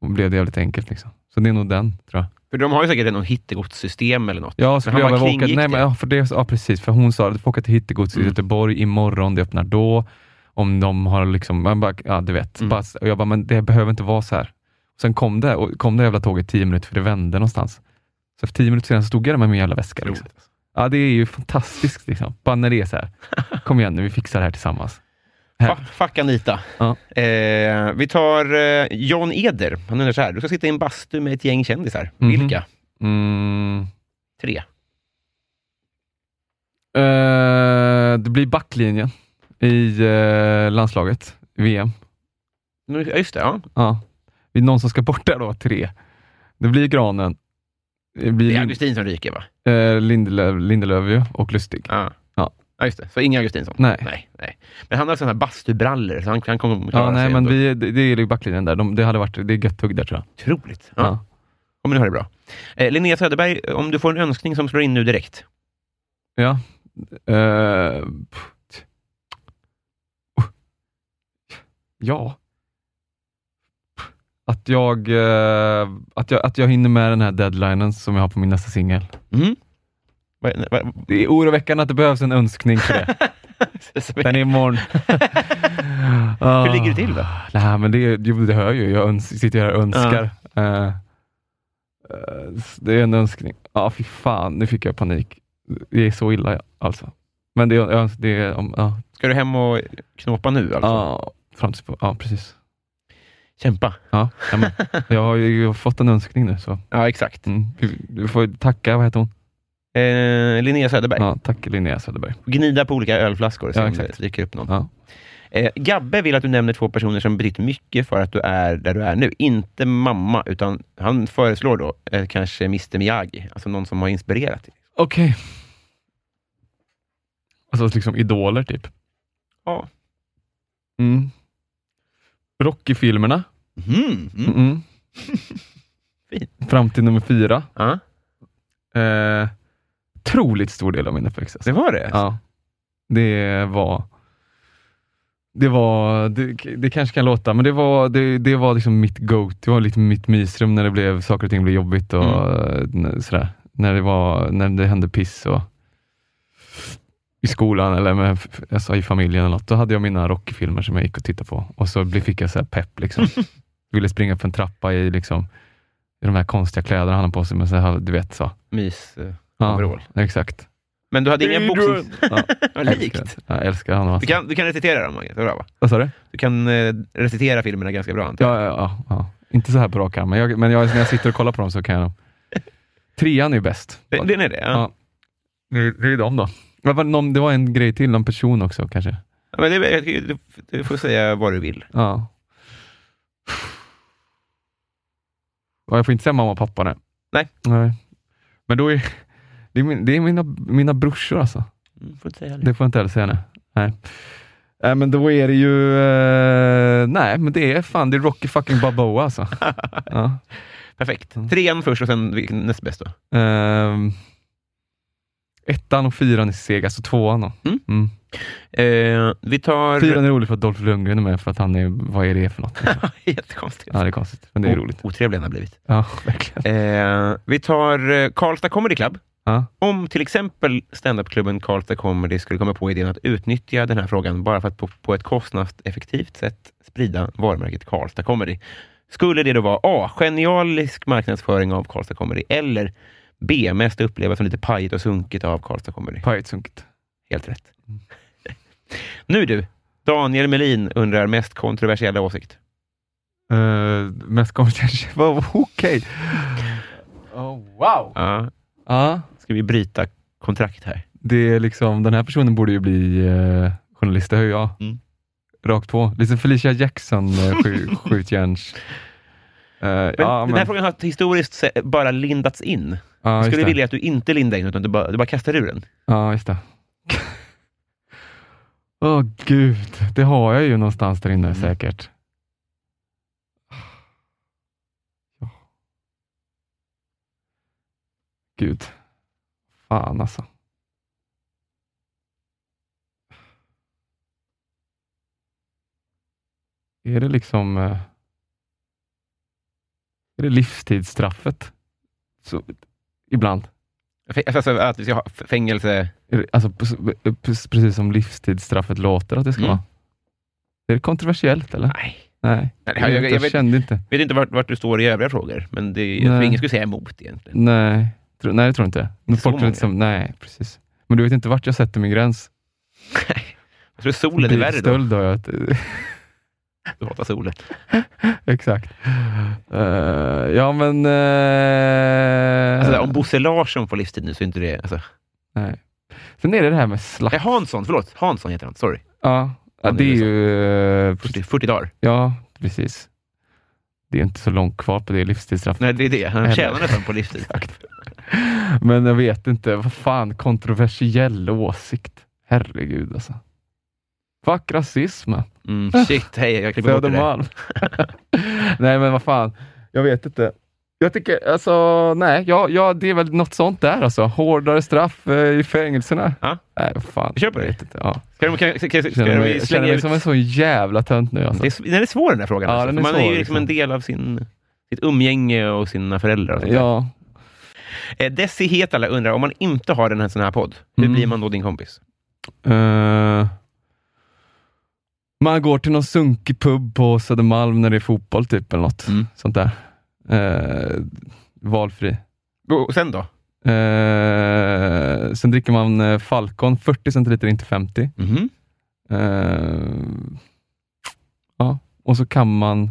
Speaker 3: blev det jävligt enkelt. Liksom. Så det är nog den, tror jag.
Speaker 2: För de har ju säkert något hittegodssystem eller något.
Speaker 3: Ja, skulle
Speaker 2: han bara
Speaker 3: jag behöva åka,
Speaker 2: kringgick
Speaker 3: nej,
Speaker 2: det.
Speaker 3: men, ja, för det, ja, precis. För hon sa att du får åka till Hittegods
Speaker 2: Mm.
Speaker 3: i Göteborg imorgon, det öppnar då. Om de har liksom, man bara, ja du vet.
Speaker 2: Mm.
Speaker 3: Bara, och jag bara, men det behöver inte vara så här. Sen kom det, och kom det jävla tåget tio minuter, för det vände någonstans. Så för tio minuter sedan stod jag där med min jävla väska. Liksom.
Speaker 2: Roligt.
Speaker 3: Ja, det är ju fantastiskt. Liksom. Bara när det är så här. Kom igen nu, vi fixar det här tillsammans. Här.
Speaker 2: Fa- Fuck Anita.
Speaker 3: Ja.
Speaker 2: Eh, vi tar eh, John Eder. Han undrar så här. Du ska sitta i en bastu med ett gäng kändisar.
Speaker 3: Mhm.
Speaker 2: Vilka?
Speaker 3: Mm.
Speaker 2: Tre.
Speaker 3: Eh, det blir backlinjen i eh, landslaget, VM.
Speaker 2: Nu- Ja, just det. Ja.
Speaker 3: Ja. Det är någon som ska bort där då, tre. Det blir Granen. Det blir
Speaker 2: Det är
Speaker 3: Lin-
Speaker 2: Augustin som ryker, va?
Speaker 3: eh, Lindelöf, Lindelöf ju, och Lustig.
Speaker 2: Ja.
Speaker 3: Ja.
Speaker 2: ja, just det. Så inga Augustinsson?
Speaker 3: Nej.
Speaker 2: Nej, nej. Men han har sådana här bastubrallor, så han, han kommer klara
Speaker 3: Ja, nej,
Speaker 2: sig
Speaker 3: men
Speaker 2: ändå.
Speaker 3: vi, det, det är ju backlinjen där. De, det, hade varit, det är gött hugg där tror jag.
Speaker 2: Otroligt. Ja.
Speaker 3: Ja.
Speaker 2: Ja, men nu har det bra. Eh, Linnea Söderberg, om du får en önskning som slår in nu direkt.
Speaker 3: Ja. Eh, pff, t- oh. ja. Pff, Att jag, eh, att, jag, att jag hinner med den här deadlinen som jag har på min nästa singel.
Speaker 2: Mm. Vad- vad-
Speaker 3: Det är oroväckande att det behövs en önskning för det. Den är imorgon.
Speaker 2: Hur ligger det till då?
Speaker 3: Nej, men det, är- jo, det hör ju. Jag öns- sitter här och önskar. Eh, eh, s- det är en önskning. Ja, fy fan. Nu fick jag panik. Det är så illa alltså. Men det, är- jag öns- det är... om- Ja,
Speaker 2: Ska du hem och knåpa nu alltså?
Speaker 3: ja, fram till, ja precis.
Speaker 2: Kämpa.
Speaker 3: Ja, ja, men, jag har ju fått en önskning nu. Så.
Speaker 2: Ja, exakt.
Speaker 3: Mm. Vi, vi får ju tacka, vad heter hon?
Speaker 2: Eh, Linnea Söderberg.
Speaker 3: Ja, tack Linnea Söderberg.
Speaker 2: Gnida på olika ölflaskor och se
Speaker 3: Ja,
Speaker 2: om
Speaker 3: exakt.
Speaker 2: det dyker upp någon.
Speaker 3: Ja.
Speaker 2: Eh, Gabbe vill att du nämner två personer som betytt mycket för att du är där du är nu. Inte mamma, utan han föreslår då eh, kanske Mr Miyagi, alltså någon som har inspirerat dig.
Speaker 3: Okej. Alltså liksom idoler typ.
Speaker 2: Ja.
Speaker 3: Mm. Rocky-filmerna.
Speaker 2: Mm. Mm.
Speaker 3: Mm.
Speaker 2: Fint.
Speaker 3: Fram till nummer fyra.
Speaker 2: Ja,
Speaker 3: Eh, otroligt stor del av min uppväxt.
Speaker 2: det
Speaker 3: Alltså.
Speaker 2: var det.
Speaker 3: Ja. Det var... Det var, det, det kanske kan låta, men det var, det, det var liksom mitt go Det var lite mitt mysrum när det blev, saker och ting blev jobbigt och eh, sådär. När det, var, när det hände piss och i skolan eller med, alltså i familjen eller något. Då hade jag mina Rocky-filmer som jag gick och tittade på och så blev- fick jag så här pepp. Liksom. Ville springa för en trappa i, liksom, i de här konstiga kläderna han har på sig, men så här, du vet så.
Speaker 2: Mys. eh,
Speaker 3: Ja,
Speaker 2: Overall.
Speaker 3: exakt.
Speaker 2: Men du hade ingen boxning...
Speaker 3: Ja,
Speaker 2: Ja,
Speaker 3: jag
Speaker 2: likt.
Speaker 3: älskar, jag älskar honom.
Speaker 2: Du
Speaker 3: Alltså.
Speaker 2: kan, du kan recitera dem, Margit. Bra, va?
Speaker 3: Vad sa du?
Speaker 2: Du kan eh, recitera filmerna ganska bra, antar jag.
Speaker 3: Ja, ja, ja, ja. Inte så här på rak arm, men, jag, men jag, när jag sitter och kollar på dem så kan jag dem. Trean är ju bäst.
Speaker 2: Det- Den är det? Ja.
Speaker 3: Ja. Det är- det är de då. Det var, någon, det var en grej till, någon person också kanske.
Speaker 2: Ja, Men det, jag tycker- du, du får säga vad du vill.
Speaker 3: Ja. Ja, Jag får inte säga mamma och pappa nu.
Speaker 2: Nej.
Speaker 3: Nej. Men då är det, är min, det är mina, mina brorsor alltså.
Speaker 2: Mm, Får inte säga
Speaker 3: Det får jag inte heller säga nu. Nej. Nej, men då är det ju... eh, nej, men det är fan det är Rocky fucking Balboa alltså. ja.
Speaker 2: Perfekt.
Speaker 3: Mm.
Speaker 2: Trean först och sen vilken- näst bäst då.
Speaker 3: Ehm, ettan och fyran är seg, alltså tvåan då.
Speaker 2: Mm. Eh, vi tar...
Speaker 3: Fyran är rolig för att Dolph Lundgren är med, för att han är, vad är det för något?
Speaker 2: Jättekonstigt.
Speaker 3: Ja, det är konstigt, men det är roligt.
Speaker 2: O- Otrevlig han har blivit.
Speaker 3: Ja, verkligen.
Speaker 2: Eh, vi tar eh, Karlstad Comedy Club.
Speaker 3: Ja.
Speaker 2: Om till exempel standupklubben Karlstad Comedy skulle komma på idén att utnyttja den här frågan bara för att på, på ett kostnadseffektivt sätt sprida varumärket Karlstad Comedy. Skulle det då vara A. Genialisk marknadsföring av Karlstad Comedy eller B. Mest upplevas som lite pajigt och sunkigt av Karlstad Comedy.
Speaker 3: Pajtsunkigt.
Speaker 2: Helt rätt. nu du, Daniel Melin undrar mest kontroversiella åsikt.
Speaker 3: Uh, mest konversation. Vad- Okej. Oh, wow.
Speaker 2: Ja,
Speaker 3: Ja,
Speaker 2: ska vi bryta kontrakt här?
Speaker 3: det är liksom, den här personen borde ju bli eh, journalist, det hör jag.
Speaker 2: Mm.
Speaker 3: Rakt på. Liksom Felicia Jackson, uh, sju, skjutjärns... Eh,
Speaker 2: Men
Speaker 3: ja,
Speaker 2: den här
Speaker 3: men-
Speaker 2: frågan har historiskt se- bara lindats in.
Speaker 3: ja,
Speaker 2: Jag
Speaker 3: just
Speaker 2: skulle
Speaker 3: det.
Speaker 2: vilja att du inte lindar in, utan du bara, du bara kastar ur den.
Speaker 3: Ja, just det. Åh gud, det har jag ju någonstans där inne säkert. Ja. Gud. Fan alltså. Är det liksom... eh, Är det livstidsstraffet? Så, ibland.
Speaker 2: F- Alltså att vi ska ha f- fängelse.
Speaker 3: Alltså, p- p- precis som livstidsstraffet låter att det ska
Speaker 2: Mm.
Speaker 3: vara. Är det kontroversiellt eller?
Speaker 2: Nej.
Speaker 3: Nej,
Speaker 2: Nej,
Speaker 3: jag,
Speaker 2: jag, jag, jag vet,
Speaker 3: kände inte.
Speaker 2: vet inte vart, vart du står i övriga frågor, men det, jag tror
Speaker 3: Nej.
Speaker 2: ingen skulle säga emot egentligen.
Speaker 3: Nej, tro, nej det tror jag inte. Men
Speaker 2: Inte så
Speaker 3: folk tror inte som, nej, precis. Men du vet inte vart jag sätter min gräns.
Speaker 2: Jag tror solen är värre då.
Speaker 3: Bilstöld har jag. ett-
Speaker 2: Du hatar solen.
Speaker 3: Exakt. Eh, ja, men... eh,
Speaker 2: Alltså, om Bosse Larsson får livstid nu så är inte det... Alltså.
Speaker 3: nej. Sen är det det här med slakt.
Speaker 2: Nej, Hansson, förlåt. Hansson heter han. Sorry.
Speaker 3: Ja, ja
Speaker 2: Han är
Speaker 3: det är
Speaker 2: ju så.
Speaker 3: ju... eh,
Speaker 2: 40, 40 dagar.
Speaker 3: ja, precis. Det är inte så långt kvar på det livstidsstraffet.
Speaker 2: Nej, det är det. Han
Speaker 3: Eller-
Speaker 2: tjänar nästan på livstid.
Speaker 3: Men jag vet inte. Vad fan, kontroversiell åsikt. Herregud alltså. Fuck rasism.
Speaker 2: Mm, shit, hej, jag klipper bort det där.
Speaker 3: Södermalm. nej, men vad fan. Jag vet inte. Jag tycker, alltså nej, ja, ja, det är väl något sånt där alltså. Hårdare straff eh, i fängelserna.
Speaker 2: Ja.
Speaker 3: Nej, vad fan.
Speaker 2: Vi köper
Speaker 3: jag
Speaker 2: det.
Speaker 3: vet inte. Ja.
Speaker 2: Ska, de- kan, ska, ska, ska
Speaker 3: Känner
Speaker 2: vi
Speaker 3: mig, känner
Speaker 2: slänga
Speaker 3: mig
Speaker 2: ut...
Speaker 3: som en sån jävla tönt nu alltså.
Speaker 2: Det är, sv- den är svår den här frågan.
Speaker 3: Ja,
Speaker 2: alltså.
Speaker 3: den är
Speaker 2: För man
Speaker 3: svår,
Speaker 2: är ju liksom
Speaker 3: liksom.
Speaker 2: en del av sin, sitt umgänge och sina föräldrar. Och sånt där.
Speaker 3: Ja,
Speaker 2: Eh, Desi Hetala undrar, om man inte har den här sån här podd, hur
Speaker 3: Mm.
Speaker 2: blir man då din kompis?
Speaker 3: Eh, man går till någon sunkig pub på Södermalm när det är fotboll typ eller något
Speaker 2: Mm.
Speaker 3: sånt där. Eh, valfri.
Speaker 2: Och sen då?
Speaker 3: Eh, sen dricker man eh, Falcon 40 centiliter, inte 50.
Speaker 2: Mhm.
Speaker 3: Eh, ja. Och så kan man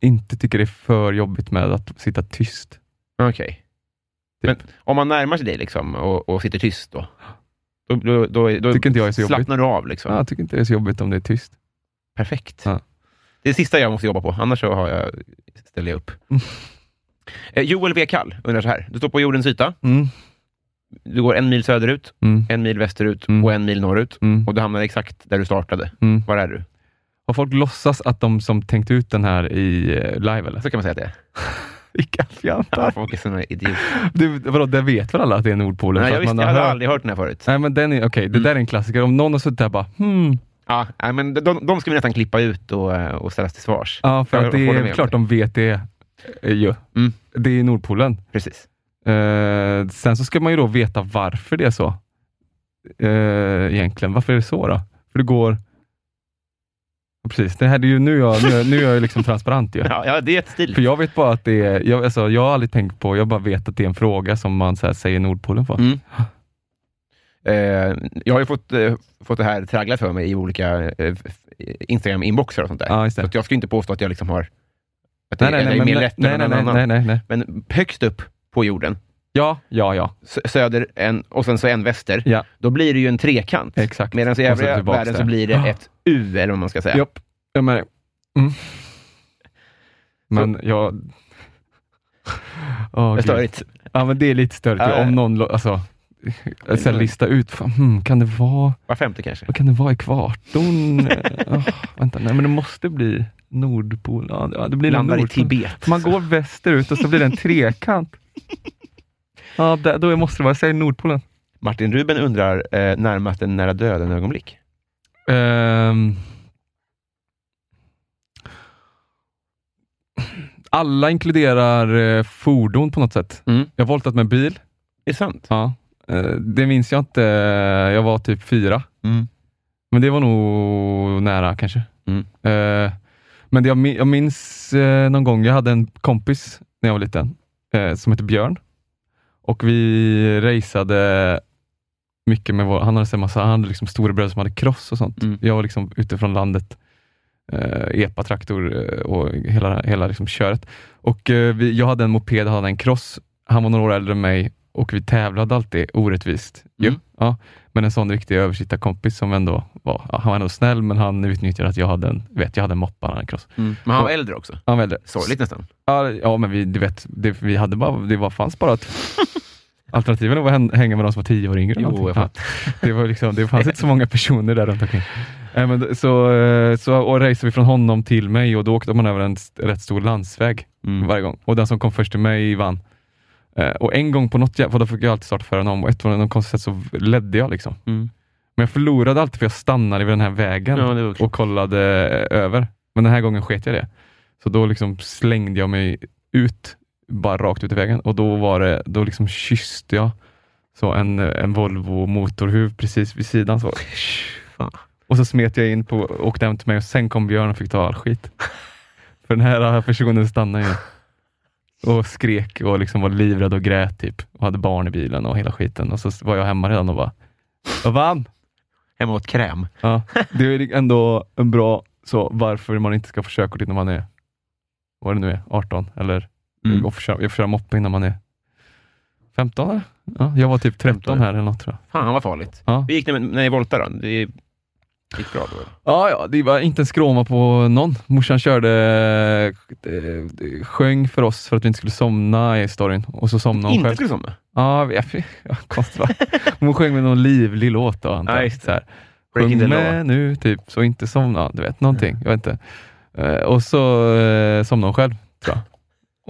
Speaker 3: inte tycka det är för jobbigt med att sitta tyst.
Speaker 2: Okej.
Speaker 3: Typ.
Speaker 2: Men om man närmar sig dig liksom, och, och sitter tyst då? Då, då, då, då
Speaker 3: Tycker inte jag är så jobbigt.
Speaker 2: slappnar du av. Liksom.
Speaker 3: Ja, jag tycker inte det är så jobbigt om det är tyst.
Speaker 2: Perfekt.
Speaker 3: Ja.
Speaker 2: Det är det sista jag måste jobba på, annars så har jag, ställer jag upp. Eh, Joel V. Kall undrar så här. Du står på jordens yta.
Speaker 3: Mm.
Speaker 2: Du går en mil söderut,
Speaker 3: Mm.
Speaker 2: en mil västerut
Speaker 3: Mm.
Speaker 2: och en mil norrut.
Speaker 3: Mm.
Speaker 2: Och du hamnar exakt där du startade.
Speaker 3: Mm.
Speaker 2: Var är du?
Speaker 3: Har folk låtsas att de som tänkt ut den här i eh, live eller?
Speaker 2: Så kan man säga att det är.
Speaker 3: Vilka
Speaker 2: Ja,
Speaker 3: fjantar.
Speaker 2: folk är såna idioter.
Speaker 3: Du, vadå, det vet väl alla att det är Nordpolen?
Speaker 2: Nej,
Speaker 3: För
Speaker 2: jag
Speaker 3: att
Speaker 2: visste,
Speaker 3: man
Speaker 2: jag
Speaker 3: har
Speaker 2: hade
Speaker 3: hört-
Speaker 2: aldrig Mm. hört den här förut.
Speaker 3: Nej, men den är, okej, det där är en klassiker. Om någon har suttit där och bara hmm.
Speaker 2: Ja, nej, men de, de de ska vi nästan klippa ut och, eh, och ställas till svars.
Speaker 3: Ja, för
Speaker 2: Jag
Speaker 3: att det
Speaker 2: håller med
Speaker 3: är
Speaker 2: om
Speaker 3: klart
Speaker 2: det.
Speaker 3: de vet det eh, ju.
Speaker 2: Mm.
Speaker 3: Det är Nordpolen.
Speaker 2: Precis.
Speaker 3: Eh, sen så ska man ju då veta varför det är så. Eh, egentligen, varför är det så då? För det går... Ja, Precis, det här är ju nu jag, nu, nu är jag ju liksom transparent ju.
Speaker 2: Ja, ja det är ett
Speaker 3: För
Speaker 2: stil.
Speaker 3: jag vet bara att det är, jag, alltså, jag har aldrig tänkt på, jag bara vet att det är en fråga som man så här, säger Nordpolen för.
Speaker 2: Mm. Eh, jag har ju fått, eh, fått det här tragglat för mig i olika eh, f- Instagram-inboxar och sånt där.
Speaker 3: Ja, just
Speaker 2: Så
Speaker 3: det.
Speaker 2: att jag skulle inte påstå att jag liksom har... Att
Speaker 3: Nej,
Speaker 2: jag
Speaker 3: nej, nej,
Speaker 2: är
Speaker 3: men,
Speaker 2: mer
Speaker 3: nej,
Speaker 2: lätt
Speaker 3: nej,
Speaker 2: än någon
Speaker 3: nej,
Speaker 2: annan.
Speaker 3: nej, nej, nej.
Speaker 2: Men högst upp på jorden,
Speaker 3: Ja, ja, ja.
Speaker 2: s- söder en, och sen så en väster,
Speaker 3: Ja.
Speaker 2: då blir det ju en trekant.
Speaker 3: Exakt.
Speaker 2: Medan i
Speaker 3: Och så
Speaker 2: övriga
Speaker 3: tillbaks
Speaker 2: världen
Speaker 3: där.
Speaker 2: så blir det
Speaker 3: Ja.
Speaker 2: ett U, eller vad man ska säga.
Speaker 3: Japp, jag med dig. Mm. Men jag... Oh,
Speaker 2: Det är störigt.
Speaker 3: Ja, men det är lite störigt.
Speaker 2: Ja, ja.
Speaker 3: Om någon... lo- Alltså, att så här lista ut, fan, hmm, kan det vara,
Speaker 2: Var femte kanske.
Speaker 3: vad kan det vara i kvarton? oh, vänta, nej men det måste bli Nordpolen. Ja, det- Ja, det blir nog
Speaker 2: Landar i
Speaker 3: Nordpolen.
Speaker 2: Tibet.
Speaker 3: Man går västerut och så blir det en trekant. Ja, där, då måste det vara, säg Nordpolen.
Speaker 2: Martin Ruben undrar eh, närmast en nära döden-ögonblick.
Speaker 3: Ehm. alla inkluderar eh, fordon på något sätt.
Speaker 2: Mm.
Speaker 3: Jag har voltat med bil.
Speaker 2: Det är sant.
Speaker 3: Ja. Eh, det minns jag inte. Jag var typ fyra.
Speaker 2: Mm.
Speaker 3: Men det var nog nära kanske.
Speaker 2: Mm.
Speaker 3: Eh, men det jag, mi- jag minns eh, någon gång, jag hade en kompis när jag var liten eh, som hette Björn. Och vi raceade mycket med vår, han hade en massa, han hade liksom storebröder som hade cross och sånt.
Speaker 2: Mm.
Speaker 3: Jag var liksom ute från landet, eh, epa-traktor eh, och hela, hela liksom köret. Och eh, vi, jag hade en moped, han hade en cross. Han var några år äldre än mig och vi tävlade alltid orättvist. ju.
Speaker 2: Mm.
Speaker 3: Ja. Men en sån riktig översittarkompis som ändå var, ja, han var ändå snäll, men han utnyttjade att jag hade en, vet, jag hade en moppa, han hade en cross.
Speaker 2: Men han var äldre också.
Speaker 3: Han var äldre.
Speaker 2: Sorgligt nästan.
Speaker 3: Ja, ja men vi, du vet, det, vi hade bara, det var, fanns bara att alternativen var att hän- hänga med de som var tio år yngre. eller
Speaker 2: Jo,
Speaker 3: någonting.
Speaker 2: jag
Speaker 3: ja, det, var liksom, det fanns inte så många personer där runt omkring. Nej, men, så, eh, så och raceade vi från honom till mig och då åkte man över en st- rätt stor landsväg
Speaker 2: Mm.
Speaker 3: varje gång. Och den som kom först till mig vann. Eh, och en gång på något jä- för då fick jag alltid starta före honom och ett på något konstigt sätt så ledde jag liksom.
Speaker 2: Mm.
Speaker 3: Men jag förlorade alltid för jag stannade vid den här vägen
Speaker 2: Ja, det var
Speaker 3: och kollade eh, över. Men den här gången sket jag det. Så då liksom slängde jag mig ut, bara rakt ut i vägen och då var det, då liksom kysste jag så en, eh, en Volvo motorhuv precis vid sidan. Så.
Speaker 2: Fan.
Speaker 3: Och så smet jag in på, åkte hem till mig och sen kom Björn och fick ta all skit. För den här personen stannade ju och skrek och liksom var livrädd och grät typ och hade barn i bilen och hela skiten. Och så var jag hemma redan och bara, jag vann!
Speaker 2: Hemma åt kräm.
Speaker 3: Ja, det är ändå en bra så varför man inte ska få körkort innan man är, vad det nu är, 18 eller
Speaker 2: Mm.
Speaker 3: och få köra, jag får köra moppe innan man är 15 eller? Ja, jag var typ 13 här eller något tror jag.
Speaker 2: Fan vad farligt.
Speaker 3: Ja,
Speaker 2: Hur gick det med- när ni voltade då? Det gick bra då?
Speaker 3: ja, ja det var inte en skråma på någon. Morsan körde, eh, sjöng för oss för att vi inte skulle somna i storyn och så somnade hon
Speaker 2: Inte
Speaker 3: själv.
Speaker 2: skulle somna?
Speaker 3: Ja, vi- ja, konstigt va? Hon sjöng med någon livlig låt då antar
Speaker 2: Ja,
Speaker 3: jag.
Speaker 2: just det.
Speaker 3: Så här.
Speaker 2: Breaking the
Speaker 3: Sjung
Speaker 2: law.
Speaker 3: med nu, typ, så inte somna. Du vet, någonting. Jag vet inte. Eh, och så eh, somnade hon själv, tror jag.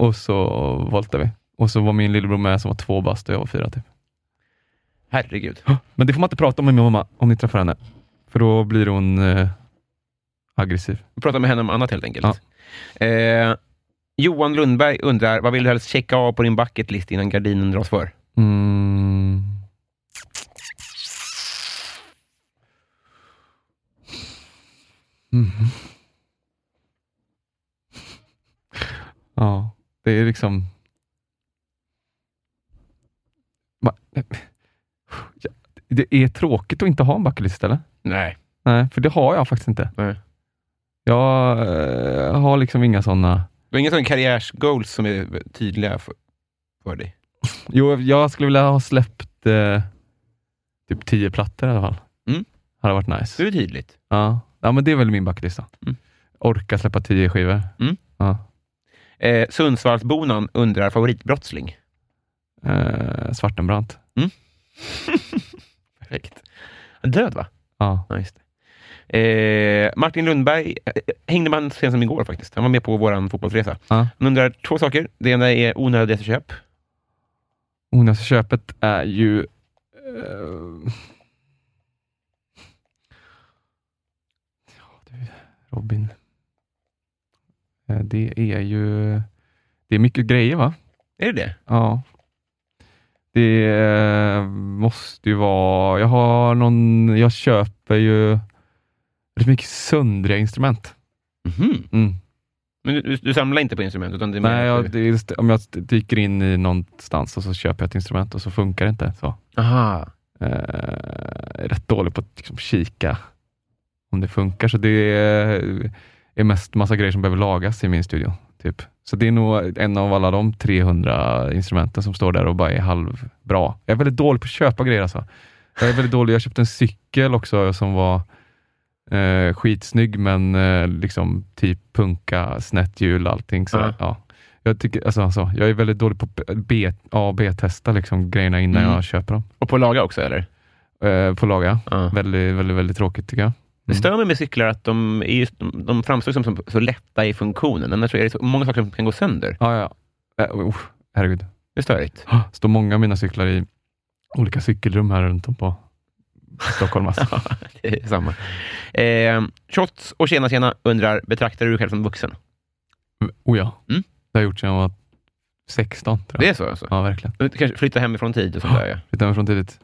Speaker 3: Och så voltade vi. Och så var min lillebror med som var två bast och jag var fyra. Typ.
Speaker 2: Herregud.
Speaker 3: Men det får man inte prata om med min mamma, om ni träffar henne. För då blir hon eh, aggressiv.
Speaker 2: Vi pratar med henne om annat helt enkelt. Eh, Johan Lundberg undrar, vad vill du helst checka av på din bucket list innan gardinen dras för?
Speaker 3: Mm. Mhm. Ja, det är liksom... Ma- Ja, Det är tråkigt att inte ha en bucketlist, eller?
Speaker 2: Nej.
Speaker 3: Nej, för det har jag faktiskt inte.
Speaker 2: Nej.
Speaker 3: Jag eh, har liksom inga sådana...
Speaker 2: Du har inga sådana karriärsgoals som är tydliga för, för dig?
Speaker 3: Jo, jag skulle vilja ha släppt eh, typ tio plattor i alla fall.
Speaker 2: Mm.
Speaker 3: Hade varit nice.
Speaker 2: Det är tydligt.
Speaker 3: Ja. ja, men det är väl min bucketlista.
Speaker 2: Mm.
Speaker 3: Orka släppa tio skivor.
Speaker 2: Mm.
Speaker 3: Ja.
Speaker 2: Eh, Sundsvallsbonan undrar, favoritbrottsling?
Speaker 3: Eh, Svartenbrandt.
Speaker 2: Perfekt. Död va?
Speaker 3: Ja.
Speaker 2: Ja, just det. Eh, Martin Lundberg eh, hängde man så sent som igår faktiskt. Han var med på vår fotbollsresa.
Speaker 3: Ja.
Speaker 2: Han undrar två saker. Det ena är onödiga reseköp.
Speaker 3: Onödiga köpet är ju... eh, Ja, du, Robin. Eh, Det är ju... Det är mycket grejer va?
Speaker 2: Är det det?
Speaker 3: Ja. Det eh, måste ju vara... Jag har någon... Jag köper ju rätt mycket söndriga instrument.
Speaker 2: Mhm.
Speaker 3: Mm.
Speaker 2: Men du, du samlar inte på instrument? Utan det är mer
Speaker 3: Nej, jag,
Speaker 2: att
Speaker 3: det är just, om jag dyker in i någonstans och så köper jag ett instrument och så funkar det inte. Så.
Speaker 2: du- Aha.
Speaker 3: eh, är rätt dålig på att liksom, kika om det funkar. Så det är, är mest massa grejer som behöver lagas i min studio. Typ. Så det är nog en av alla de 300 instrumenten som står där och bara är halvbra. Jag är väldigt dålig på att köpa grejer alltså. Jag är väldigt dålig. Jag köpte en cykel också som var eh, skitsnygg, men eh, liksom typ punka, snett hjul, allting. Så,
Speaker 2: Ja.
Speaker 3: ja. jag, tycker, alltså, så, jag är väldigt dålig på att B- A och B-testa liksom, grejerna innan
Speaker 2: Mm.
Speaker 3: jag köper dem.
Speaker 2: Och på laga också, eller?
Speaker 3: Eh, på laga.
Speaker 2: Ja.
Speaker 3: Väldigt, väldigt, väldigt tråkigt tycker jag.
Speaker 2: Det
Speaker 3: Mm.
Speaker 2: stör mig med cyklar att de, är just, de, de framstår som, som så lätta i funktionen. Annars är det så många saker som kan gå sönder.
Speaker 3: Ja, ja. ja. Eh, oh, herregud.
Speaker 2: Det är störigt.
Speaker 3: står många av mina cyklar i olika cykelrum här runt om på Stockholm. Alltså.
Speaker 2: Ja, det är samma. Eh, shots och tjena tjena undrar, betraktar du dig själv som vuxen?
Speaker 3: Oh ja.
Speaker 2: Mm.
Speaker 3: Det har jag gjort sedan jag var 16 tror jag.
Speaker 2: Det är så alltså?
Speaker 3: Ja, verkligen.
Speaker 2: Du Kanske flytta hemifrån tid och sådär ja.
Speaker 3: Flyttade hemifrån tidigt.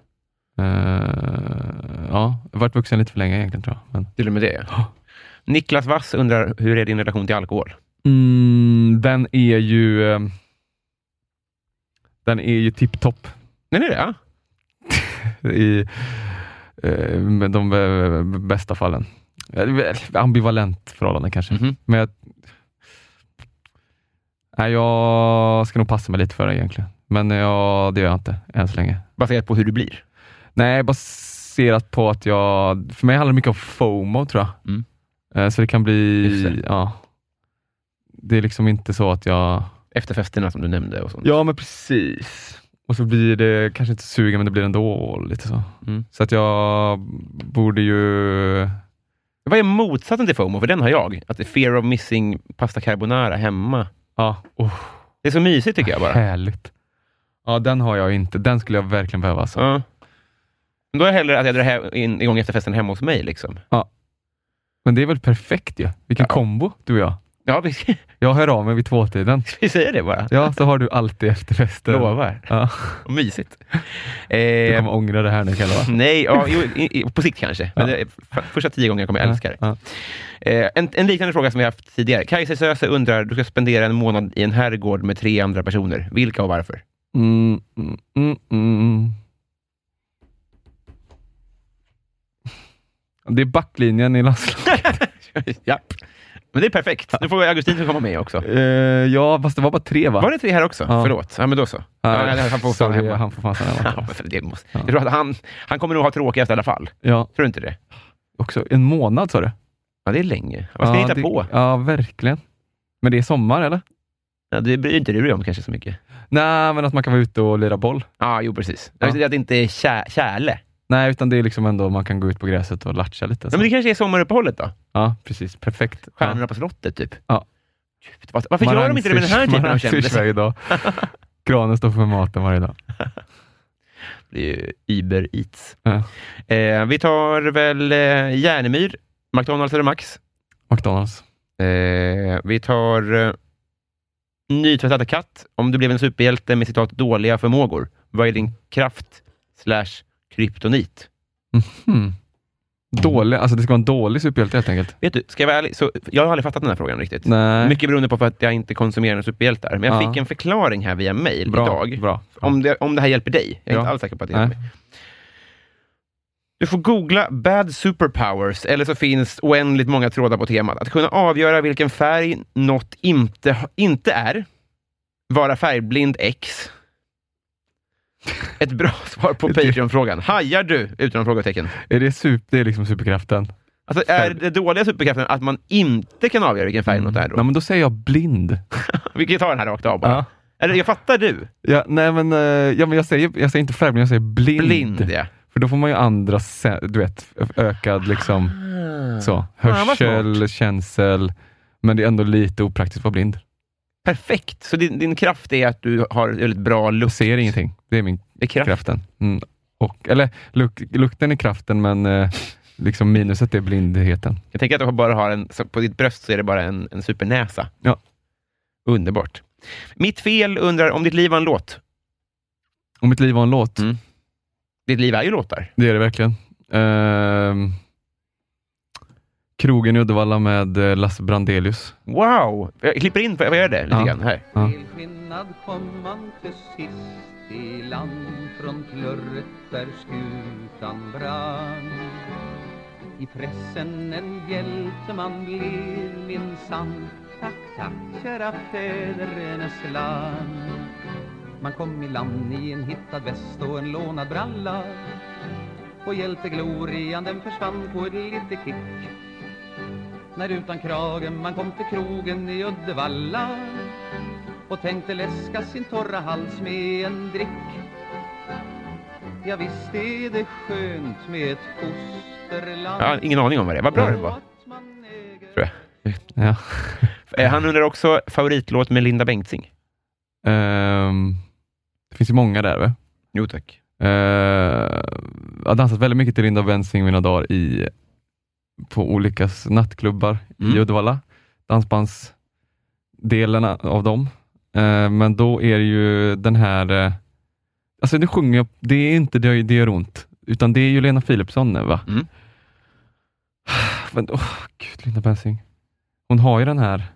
Speaker 3: Eh, ja, jag har varit vuxen lite för länge egentligen tror jag. Men,
Speaker 2: Till och med det ja. Niklas Wass undrar, hur är din relation till alkohol?
Speaker 3: mm, den är ju ehm, den är ju tipptopp.
Speaker 2: Nej, det är det? Ja.
Speaker 3: i eh, med de eh, bästa fallen. Eh, Ambivalent förhållande kanske.
Speaker 2: Mhm.
Speaker 3: Men jag, nej, jag ska nog passa mig lite för det egentligen. Men jag, det gör jag inte än så länge.
Speaker 2: Baserat på hur du blir?
Speaker 3: Nej, baserat på att jag... För mig handlar det mycket om FOMO tror jag.
Speaker 2: Mm.
Speaker 3: Eh, Så det kan
Speaker 2: Just
Speaker 3: bli...
Speaker 2: det.
Speaker 3: Ja, det är liksom inte så att jag...
Speaker 2: Efterfesterna som du nämnde och sånt?
Speaker 3: Ja, men precis. Och så blir det kanske inte sugen, men det blir ändå lite så.
Speaker 2: Mm.
Speaker 3: Så att jag borde ju...
Speaker 2: Vad är motsatsen till FOMO? För den har jag. Att det är fear of missing pasta carbonara hemma.
Speaker 3: Ja, oh,
Speaker 2: Det är så mysigt tycker jag bara.
Speaker 3: härligt. Ja, den har jag inte. Den skulle jag verkligen behöva. Alltså.
Speaker 2: Ja. Men då är det hellre att jag drar he- in, igång efterfesten hemma hos mig. Liksom.
Speaker 3: Men det är väl perfekt ju? Vilken kombo, du och jag.
Speaker 2: Ja, vi,
Speaker 3: Jag hör av mig vid tvåtiden.
Speaker 2: vi säger det bara.
Speaker 3: Ja, så har du alltid efterfester.
Speaker 2: Lovar.
Speaker 3: Ja,
Speaker 2: Och mysigt.
Speaker 3: du
Speaker 2: Eh,
Speaker 3: kommer ångra det här nu, kan jag lova.
Speaker 2: nej, ja, jo, i, i, på sikt kanske. Men det, f- första tio gånger kommer jag älska det.
Speaker 3: Ja,
Speaker 2: Eh, en, en liknande fråga som vi haft tidigare. Kajsa Söse undrar, du ska spendera en månad i en herrgård med tre andra personer. Vilka och varför?
Speaker 3: ja. Mm, mm, mm, mm. Det är backlinjen i landslaget.
Speaker 2: ja. Men det är perfekt. Nu får Augustin komma med också.
Speaker 3: Eh, ja, fast det var bara tre va?
Speaker 2: Var det tre här också?
Speaker 3: Ja.
Speaker 2: Förlåt. Ja, men då så. Ja, nej, han får fan
Speaker 3: sorry,
Speaker 2: hemma.
Speaker 3: han får fan stanna hemma.
Speaker 2: Ja, men för det måste.
Speaker 3: Ja.
Speaker 2: Jag tror att han, han kommer nog ha tråkigast i alla fall.
Speaker 3: Ja,
Speaker 2: Tror du inte det?
Speaker 3: också en månad sa du?
Speaker 2: Ja, det är länge. Vad ska ni
Speaker 3: ja,
Speaker 2: hitta
Speaker 3: det,
Speaker 2: på?
Speaker 3: Ja, verkligen. Men det är sommar eller?
Speaker 2: Ja, det bryr inte du dig om kanske så mycket.
Speaker 3: Nej, men att man kan vara ute och lira boll.
Speaker 2: Ja, jo precis.
Speaker 3: Ja.
Speaker 2: Det är att det inte är kär, kärle.
Speaker 3: Nej, utan det är liksom ändå man kan gå ut på gräset och latcha lite.
Speaker 2: Ja,
Speaker 3: Så.
Speaker 2: men det kanske är sommaruppehållet då?
Speaker 3: Ja, precis. Perfekt.
Speaker 2: Stjärnorna på slottet, typ.
Speaker 3: Ja.
Speaker 2: Gud, vad- Varför gör de inte det med den här typen av kändisar?
Speaker 3: idag. Granen står för maten varje dag.
Speaker 2: Det är ju Uber Eats.
Speaker 3: Ja.
Speaker 2: Eh, vi tar väl eh, Järnemyr, McDonalds eller Max.
Speaker 3: McDonalds.
Speaker 2: Eh, vi tar eh, nytvättad katt. Om du blev en superhjälte med citat dåliga förmågor, vad är din kraft slash kryptonit?
Speaker 3: Hmm. Dålig, alltså det ska vara en dålig superhjälte helt enkelt.
Speaker 2: Vet du, ska jag vara ärlig, så, jag har aldrig fattat den här frågan riktigt.
Speaker 3: Nej.
Speaker 2: Mycket beroende på för att jag inte konsumerar några superhjältar. Men jag
Speaker 3: Ja.
Speaker 2: fick en förklaring här via mail
Speaker 3: bra,
Speaker 2: idag.
Speaker 3: Bra.
Speaker 2: Om, det, om det här hjälper dig. Jag är
Speaker 3: Ja.
Speaker 2: inte alls säker på att det
Speaker 3: Nej.
Speaker 2: hjälper mig. Du får googla bad superpowers, eller så finns oändligt många trådar på temat. Att kunna avgöra vilken färg något inte, ha- inte är. Vara färgblind X. Ett bra svar på Patreon-frågan. Hajar du? Utan frågetecken.
Speaker 3: Är det, super, det är liksom superkraften.
Speaker 2: Alltså, är det dåliga superkraften att man inte kan avgöra vilken färg något är
Speaker 3: Mm. Nej,
Speaker 2: då?
Speaker 3: men då säger jag blind.
Speaker 2: Vi kan ju ta den här rakt av bara. Eller jag fattar du.
Speaker 3: Ja, nej men, eh, ja, men jag, säger, jag säger inte färgblind, jag säger blind.
Speaker 2: Blind, ja.
Speaker 3: För då får man ju andra, se- du vet, ö- ökad liksom, så,
Speaker 2: Ah. vad
Speaker 3: hörsel, känsel, men det är ändå lite opraktiskt att vara blind.
Speaker 2: Perfekt. Så din, din kraft är att du har väldigt bra
Speaker 3: Jag
Speaker 2: lukt.
Speaker 3: ser ingenting. Det är min
Speaker 2: Det är kraft.
Speaker 3: kraften. Mm. Och, eller luk, lukten är kraften, men eh, liksom minuset är blindheten.
Speaker 2: Jag tänker att du bara har en, så på ditt bröst så är det bara en, en supernäsa.
Speaker 3: Ja.
Speaker 2: Underbart. Mitt fel undrar om ditt liv var en låt.
Speaker 3: Om mitt liv var en låt,
Speaker 2: Mm. Ditt liv är ju låtar.
Speaker 3: det är det verkligen. Ehm, krogen i Uddevalla med eh, Lasse Brandelius.
Speaker 2: Wow! Jag klipper in, på, jag gör det lite
Speaker 3: Ja.
Speaker 2: grann här.
Speaker 3: Ja.
Speaker 4: Till skillnad månad kom man till sist i land från klurret där skutan brann. I pressen en hjälte man blev minsann. Tack, tack, kära fädernes land. Man kom i land i en hittad väst och en lånad bralla. Och hjälteglorian den försvann på ett litet kick. När utan kragen man kom till krogen i Uddevalla och tänkte läska sin torra hals med en drick. Ja visst är det skönt med ett fosterland.
Speaker 2: Jag har ingen aning om vad det är. Vad bra den var. Tror jag.
Speaker 3: Ja.
Speaker 2: Eh, Han undrar också favoritlåt med Linda Bengtzing.
Speaker 3: Ehm, det finns ju många där va?
Speaker 2: Jo tack.
Speaker 3: Eh, jag har dansat väldigt mycket till Linda Bensing mina dagar i, på olika s- nattklubbar i
Speaker 2: Mm.
Speaker 3: Uddevalla. Dansbandsdelen av dem. Eh, men då är det ju den här, eh, alltså nu sjunger jag, det är inte Det, det gör ont, utan det är ju Lena Philipsson va?
Speaker 2: Mm.
Speaker 3: Men åh, gud Linda Bensing. Hon har ju den här,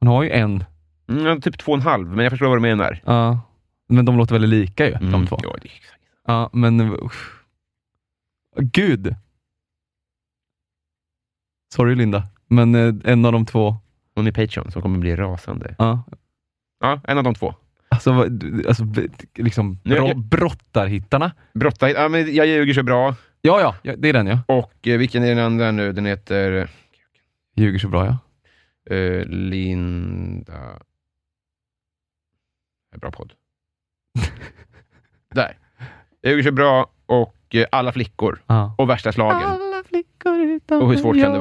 Speaker 3: hon har ju en,
Speaker 2: Mm, ja, typ två och en halv, men jag förstår vad du menar.
Speaker 3: ja. men de låter väldigt lika ju, de två.
Speaker 2: Mm. Ja, det är exakt.
Speaker 3: Ja, men... uff. Gud! Sorry Linda, men eh, en av de två.
Speaker 2: Hon är Patreon som kommer bli rasande.
Speaker 3: Ja.
Speaker 2: Ja, en av de två.
Speaker 3: Alltså, vad- du- alltså b- liksom
Speaker 2: Nu-
Speaker 3: bro,
Speaker 2: jag-
Speaker 3: brottarhittarna.
Speaker 2: Brotta, ja, men jag ljuger så bra.
Speaker 3: Ja, ja, ja, det är den ja.
Speaker 2: Och eh, vilken är den andra nu? Den heter
Speaker 3: Ljuger så bra ja.
Speaker 2: eh, Linda... En Bra podd. Där. Jag ljuger så bra och eh, Alla flickor
Speaker 3: ja.
Speaker 2: och Värsta slagen.
Speaker 3: flickor utan
Speaker 2: Och hur svårt kan det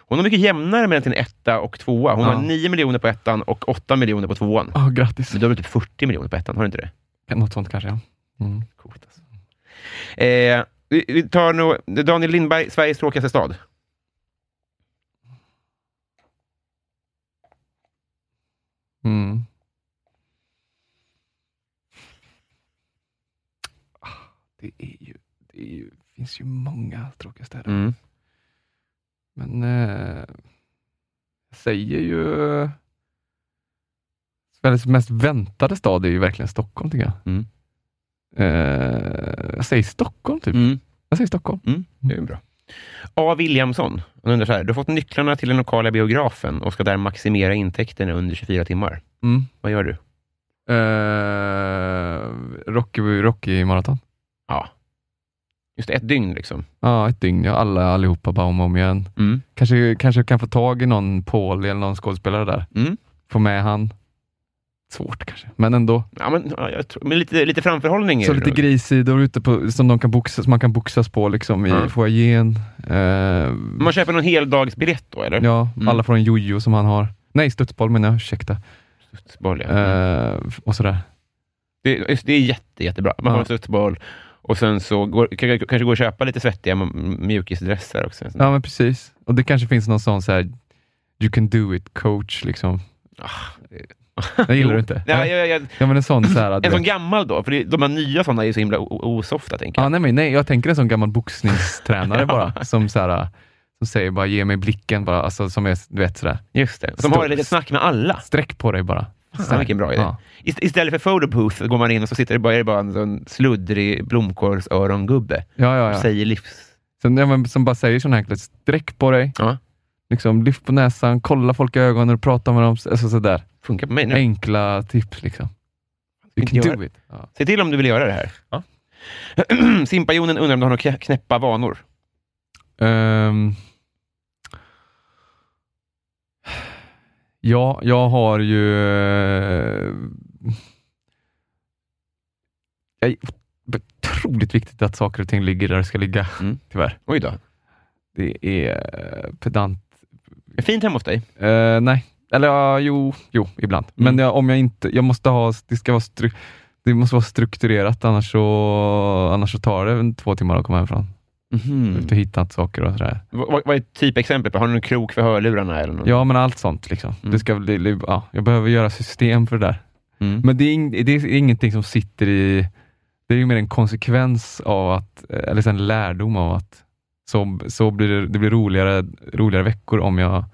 Speaker 2: Hon har mycket jämnare mellan sin etta och tvåa. Hon
Speaker 3: Ja.
Speaker 2: har 9 miljoner på ettan och 8 miljoner på tvåan.
Speaker 3: Ja, grattis.
Speaker 2: Men du har väl typ 40 miljoner på ettan? Har du inte det?
Speaker 3: Något sånt kanske ja. Mm.
Speaker 2: Coolt alltså. Eh, vi, vi tar nog Daniel Lindberg, Sveriges tråkigaste stad.
Speaker 3: Mm. Ah, Det är ju, det är ju, finns ju många tråkiga städer. Men eh, jag säger ju... Sveriges mest väntade stad är ju verkligen Stockholm, tycker jag.
Speaker 2: Mm.
Speaker 3: Eh, jag säger Stockholm,
Speaker 2: Mm.
Speaker 3: typ. Jag säger Stockholm. Mm.
Speaker 2: Det är bra. A. Williamson. Han undrar så här. Du har fått nycklarna till den lokala biografen och ska där maximera intäkterna under 24 timmar.
Speaker 3: Mm.
Speaker 2: Vad gör du?
Speaker 3: Eh, Rocky, Rocky maraton.
Speaker 2: Just ett dygn liksom.
Speaker 3: Ja, ett dygn. Ja, alla, allihopa bara om och om igen.
Speaker 2: Mm.
Speaker 3: Kanske, kanske jag kan få tag i någon Paul eller någon skådespelare där.
Speaker 2: Mm.
Speaker 3: Få med han. Svårt kanske, men ändå.
Speaker 2: Ja, men, ja, jag tror, men lite, lite framförhållning. är
Speaker 3: Så
Speaker 2: det
Speaker 3: lite
Speaker 2: nog.
Speaker 3: grissidor ute på, som, de kan boxa, som man kan boxas på liksom, i
Speaker 2: Ja.
Speaker 3: foajén. Eh,
Speaker 2: Man köper någon heldagsbiljett då, eller?
Speaker 3: ja,
Speaker 2: Mm.
Speaker 3: Alla får en jojo som han har. Nej, studsboll menar jag. Ursäkta.
Speaker 2: Studsboll, ja.
Speaker 3: Eh, och sådär.
Speaker 2: Det, just, det är jätte, jättebra. Man får
Speaker 3: Ja.
Speaker 2: en studsboll och sen så går, kan- kan- kanske gå och köpa lite svettiga m- mjukisdressar också. En sån-
Speaker 3: Ja, men precis. Och det kanske finns någon sån så här you can do it coach liksom. Det gillar du inte?
Speaker 2: Ah. Nej, jag, jag,
Speaker 3: Ja, men en sån så här.
Speaker 2: En
Speaker 3: du
Speaker 2: sån
Speaker 3: vet.
Speaker 2: gammal då? För det- de här nya såna är ju så himla o- osofta, tänker jag.
Speaker 3: Ja, nej, men nej, jag tänker en sån gammal boxningstränare bara, som så här, som säger bara ge mig blicken bara, alltså som är, du vet sådär.
Speaker 2: Just det. Som
Speaker 3: Stor-
Speaker 2: har ett litet snack med alla.
Speaker 3: Sträck på dig bara.
Speaker 2: Fan, vilken bra idé.
Speaker 3: Ja.
Speaker 2: Ist- Istället för photo booth går man in och så sitter det bara, är det bara en sån sluddrig blomkålsörongubbe
Speaker 3: Ja, ja,
Speaker 2: och
Speaker 3: ja.
Speaker 2: säger livs...
Speaker 3: Som, ja, men, som bara säger sådana här enkelt, sträck på dig,
Speaker 2: Ja.
Speaker 3: liksom, lyft på näsan, kolla folk i ögonen och prata med dem. Alltså, sådär.
Speaker 2: Funkar på mig nu.
Speaker 3: Enkla tips liksom. You
Speaker 2: Inte
Speaker 3: can
Speaker 2: göra-
Speaker 3: do it. Ja.
Speaker 2: Se till om du vill göra det här.
Speaker 3: Ja.
Speaker 2: Simpajonen undrar om du har några knä- knäppa vanor?
Speaker 3: Ehm. ja, jag har ju... eh, jag, det är otroligt viktigt att saker och ting ligger där det ska ligga,
Speaker 2: Mm.
Speaker 3: tyvärr.
Speaker 2: Oj då.
Speaker 3: Det är eh, pedant.
Speaker 2: Fint hemma hos dig.
Speaker 3: Eh, nej, eller ja, jo, jo, ibland.
Speaker 2: Mm.
Speaker 3: Men jag, om jag inte... Jag måste ha... Det ska vara stru, det måste vara strukturerat, annars så, annars så tar det en två timmar att komma hemifrån.
Speaker 2: Mm.
Speaker 3: Ut och hitta saker och sådär.
Speaker 2: V- Vad, vad är ett typexempel på? Har du någon krok för hörlurarna? Eller något?
Speaker 3: Ja, men allt sånt. Liksom.
Speaker 2: Mm.
Speaker 3: Det ska, bli- bli- ja, jag behöver göra system för det där.
Speaker 2: Mm.
Speaker 3: Men det är, ing, det är ingenting som sitter i... Det är ju mer en konsekvens av att, eller en lärdom av att så, så blir det, det blir roligare, roligare veckor om jag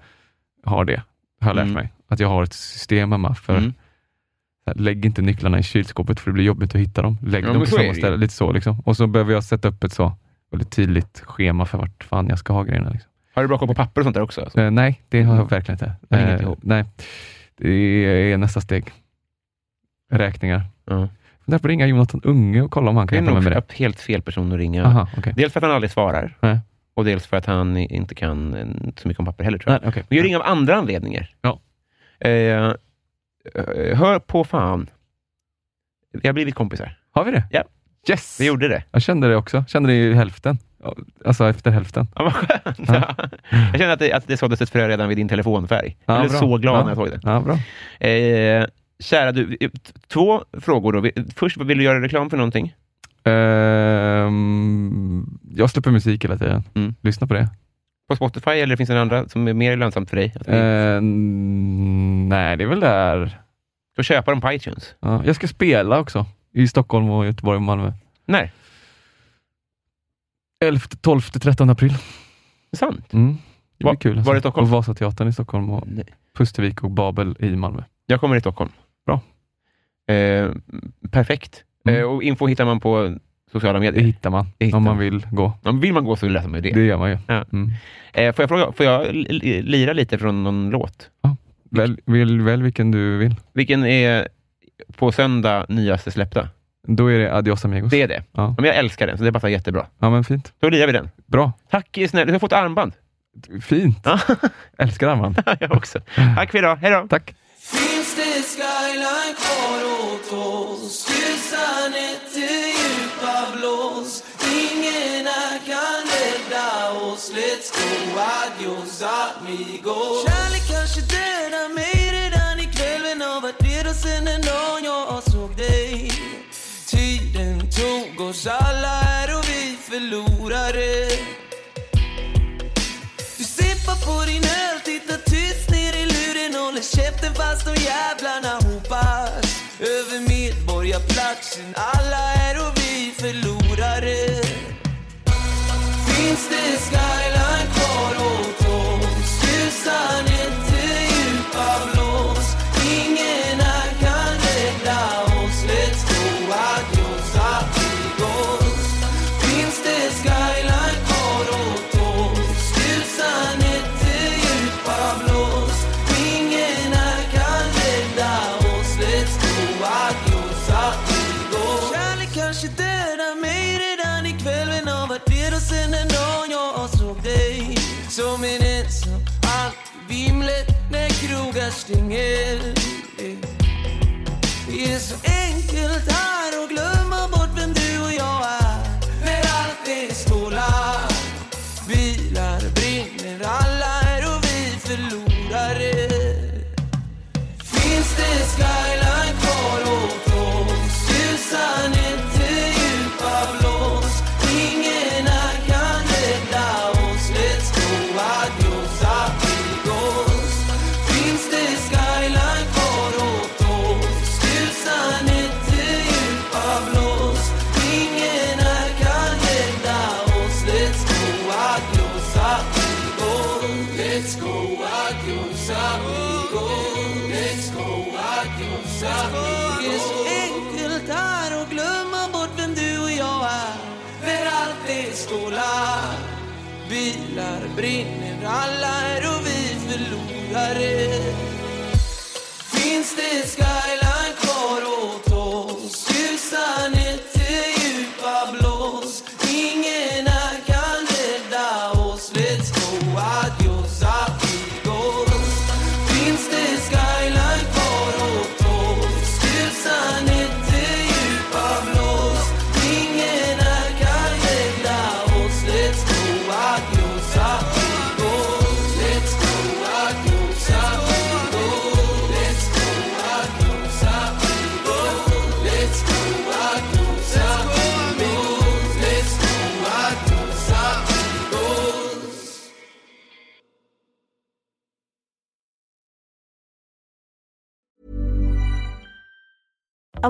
Speaker 3: har det, har jag lärt
Speaker 2: Mm.
Speaker 3: mig. att jag har ett system hemma för
Speaker 2: Mm.
Speaker 3: så här, lägg inte nycklarna i kylskåpet för det blir jobbigt att hitta dem. Lägg
Speaker 2: Ja,
Speaker 3: dem
Speaker 2: men
Speaker 3: på
Speaker 2: så är
Speaker 3: samma
Speaker 2: det ju.
Speaker 3: ställe. Lite så liksom. Och så behöver jag sätta upp ett så väldigt tydligt schema för vart fan jag ska ha grejerna. Liksom.
Speaker 2: Har du bra koll på papper och sånt där också? Alltså?
Speaker 3: Eh, nej, det har jag verkligen inte.
Speaker 2: Hänger inte
Speaker 3: Eh,
Speaker 2: ihop.
Speaker 3: nej, det är nästa steg. Räkningar.
Speaker 2: Ja.
Speaker 3: Där får ringa Jonathan Unge och kolla om han
Speaker 2: Det
Speaker 3: kan
Speaker 2: är
Speaker 3: hjälpa mig
Speaker 2: nog
Speaker 3: med det.
Speaker 2: helt fel person att ringa.
Speaker 3: Aha, okej.
Speaker 2: Dels för att han aldrig svarar
Speaker 3: Nej.
Speaker 2: och dels för att han inte kan eh, så mycket om papper heller, tror jag.
Speaker 3: Nej, okej.
Speaker 2: Men jag ringer av andra anledningar.
Speaker 3: Ja.
Speaker 2: Eh, eh, hör på fan. Vi har blivit kompisar.
Speaker 3: Har vi det?
Speaker 2: Ja.
Speaker 3: Yes!
Speaker 2: Vi gjorde det.
Speaker 3: Jag kände det också. Kände det i hälften. Alltså efter hälften.
Speaker 2: Ja, vad skönt.
Speaker 3: Ja.
Speaker 2: Jag kände att det, att det såddes ett frö redan vid din telefonfärg.
Speaker 3: Ja,
Speaker 2: jag blev
Speaker 3: bra.
Speaker 2: så glad
Speaker 3: Ja.
Speaker 2: när jag såg det.
Speaker 3: Ja, bra.
Speaker 2: Eh, kära du, eh, t- två frågor då. Vi- Först, vill du göra reklam för någonting?
Speaker 3: Ehm, jag släpper musik hela tiden.
Speaker 2: Mm.
Speaker 3: Lyssna på det.
Speaker 2: På Spotify eller finns det några andra som är mer lönsamt för dig? Att vi
Speaker 3: Eh. Ehm, nej, det är väl där.
Speaker 2: ska köpa dem på iTunes?
Speaker 3: Ja, jag ska spela också i Stockholm, och Göteborg och Malmö.
Speaker 2: Nej,
Speaker 3: 11, 12, 13 april.
Speaker 2: det är sant.
Speaker 3: Mm. Det blir
Speaker 2: Va-
Speaker 3: kul.
Speaker 2: var det i Stockholm?
Speaker 3: Och Vasateatern i Stockholm och
Speaker 2: Nej.
Speaker 3: Pustervik och Babel i Malmö.
Speaker 2: Jag kommer i Stockholm.
Speaker 3: Bra.
Speaker 2: Eh, perfekt.
Speaker 3: Mm.
Speaker 2: Eh, och info hittar man på sociala
Speaker 3: Det
Speaker 2: medier.
Speaker 3: hittar man
Speaker 2: Det hittar
Speaker 3: om man
Speaker 2: man.
Speaker 3: vill gå.
Speaker 2: Om vill man gå så läser man ju det.
Speaker 3: Det gör man ju.
Speaker 2: Ja.
Speaker 3: Mm.
Speaker 2: Eh, får jag, fråga, får jag li- li- lira lite från någon låt?
Speaker 3: Välj, välj, välj vilken du vill.
Speaker 2: Vilken är på söndag nyaste släppta?
Speaker 3: Då är det Adios Amigos.
Speaker 2: Det är det.
Speaker 3: Ja.
Speaker 2: Men jag älskar den, så det passar jättebra.
Speaker 3: Ja, men fint.
Speaker 2: Då lirar vi den.
Speaker 3: Bra.
Speaker 2: Tack snälla, du har fått armband.
Speaker 3: Fint.
Speaker 2: Ja.
Speaker 3: Älskar armband.
Speaker 2: jag också. Tack för idag, hej då.
Speaker 3: Tack.
Speaker 5: Finns det skyline kvar åt oss? Ljusa nätter, djupa blås Ingen här kan rädda oss Let's go, adios amigos Kärlek kanske dödar mig redan ikväll Men har varit redo sen den dagen jag såg dig Tiden tog oss alla här och vi förlorade du sippar på din öl, tittar tyst ner i luren Håller käften fast de jävlarna hopas Över Medborgarplatsen, alla är och vi förlorare Finns det skyline kvar åt oss? Tusan nätter, djupa blås Ingen här kan rädda oss Let's go, adios, amigos Finns det skyline kvar åt oss? Tusan nätter, djupa blås Ingen här kan rädda oss Let's go, adios, amigos Kärlek kanske dödar mig redan ikväll Men har varit redo sen den dagen jag såg dig Som en ensam allt vimlet när krogar stänger Eh. Det är så enkelt här att glömma bort vem du och jag är När allt är skolat Bilar brinner, alla är och vi förlorare Finns det skyline kvar åt oss? Ljusa nätter, djupa blås Ingen här kan rädda oss Let's go, adios, amigos Finns det skyline kvar åt oss? Ljusa nätter, djupa blås Ingen här kan rädda oss Let's go, adios, amigos Let's go, adios, amigos Let's go, adios, amigos Det är så enkelt här att glömma bort vem du och jag är När allt är skola Bilar brinner, alla är och vi förlorare Finns det skyline kvar åt oss? Ljusa nätter, djupa blås Ingen här kan rädda oss Let's go, adios, amigos Finns det skyline kvar åt oss? Ljusa nätter, djupa blås Ingen här kan rädda oss Let's go, adios, amigos Let's go, adios, amigos Let's go, adios, amigos Let's go, adios, amigos Let's go, adios, amigos
Speaker 6: A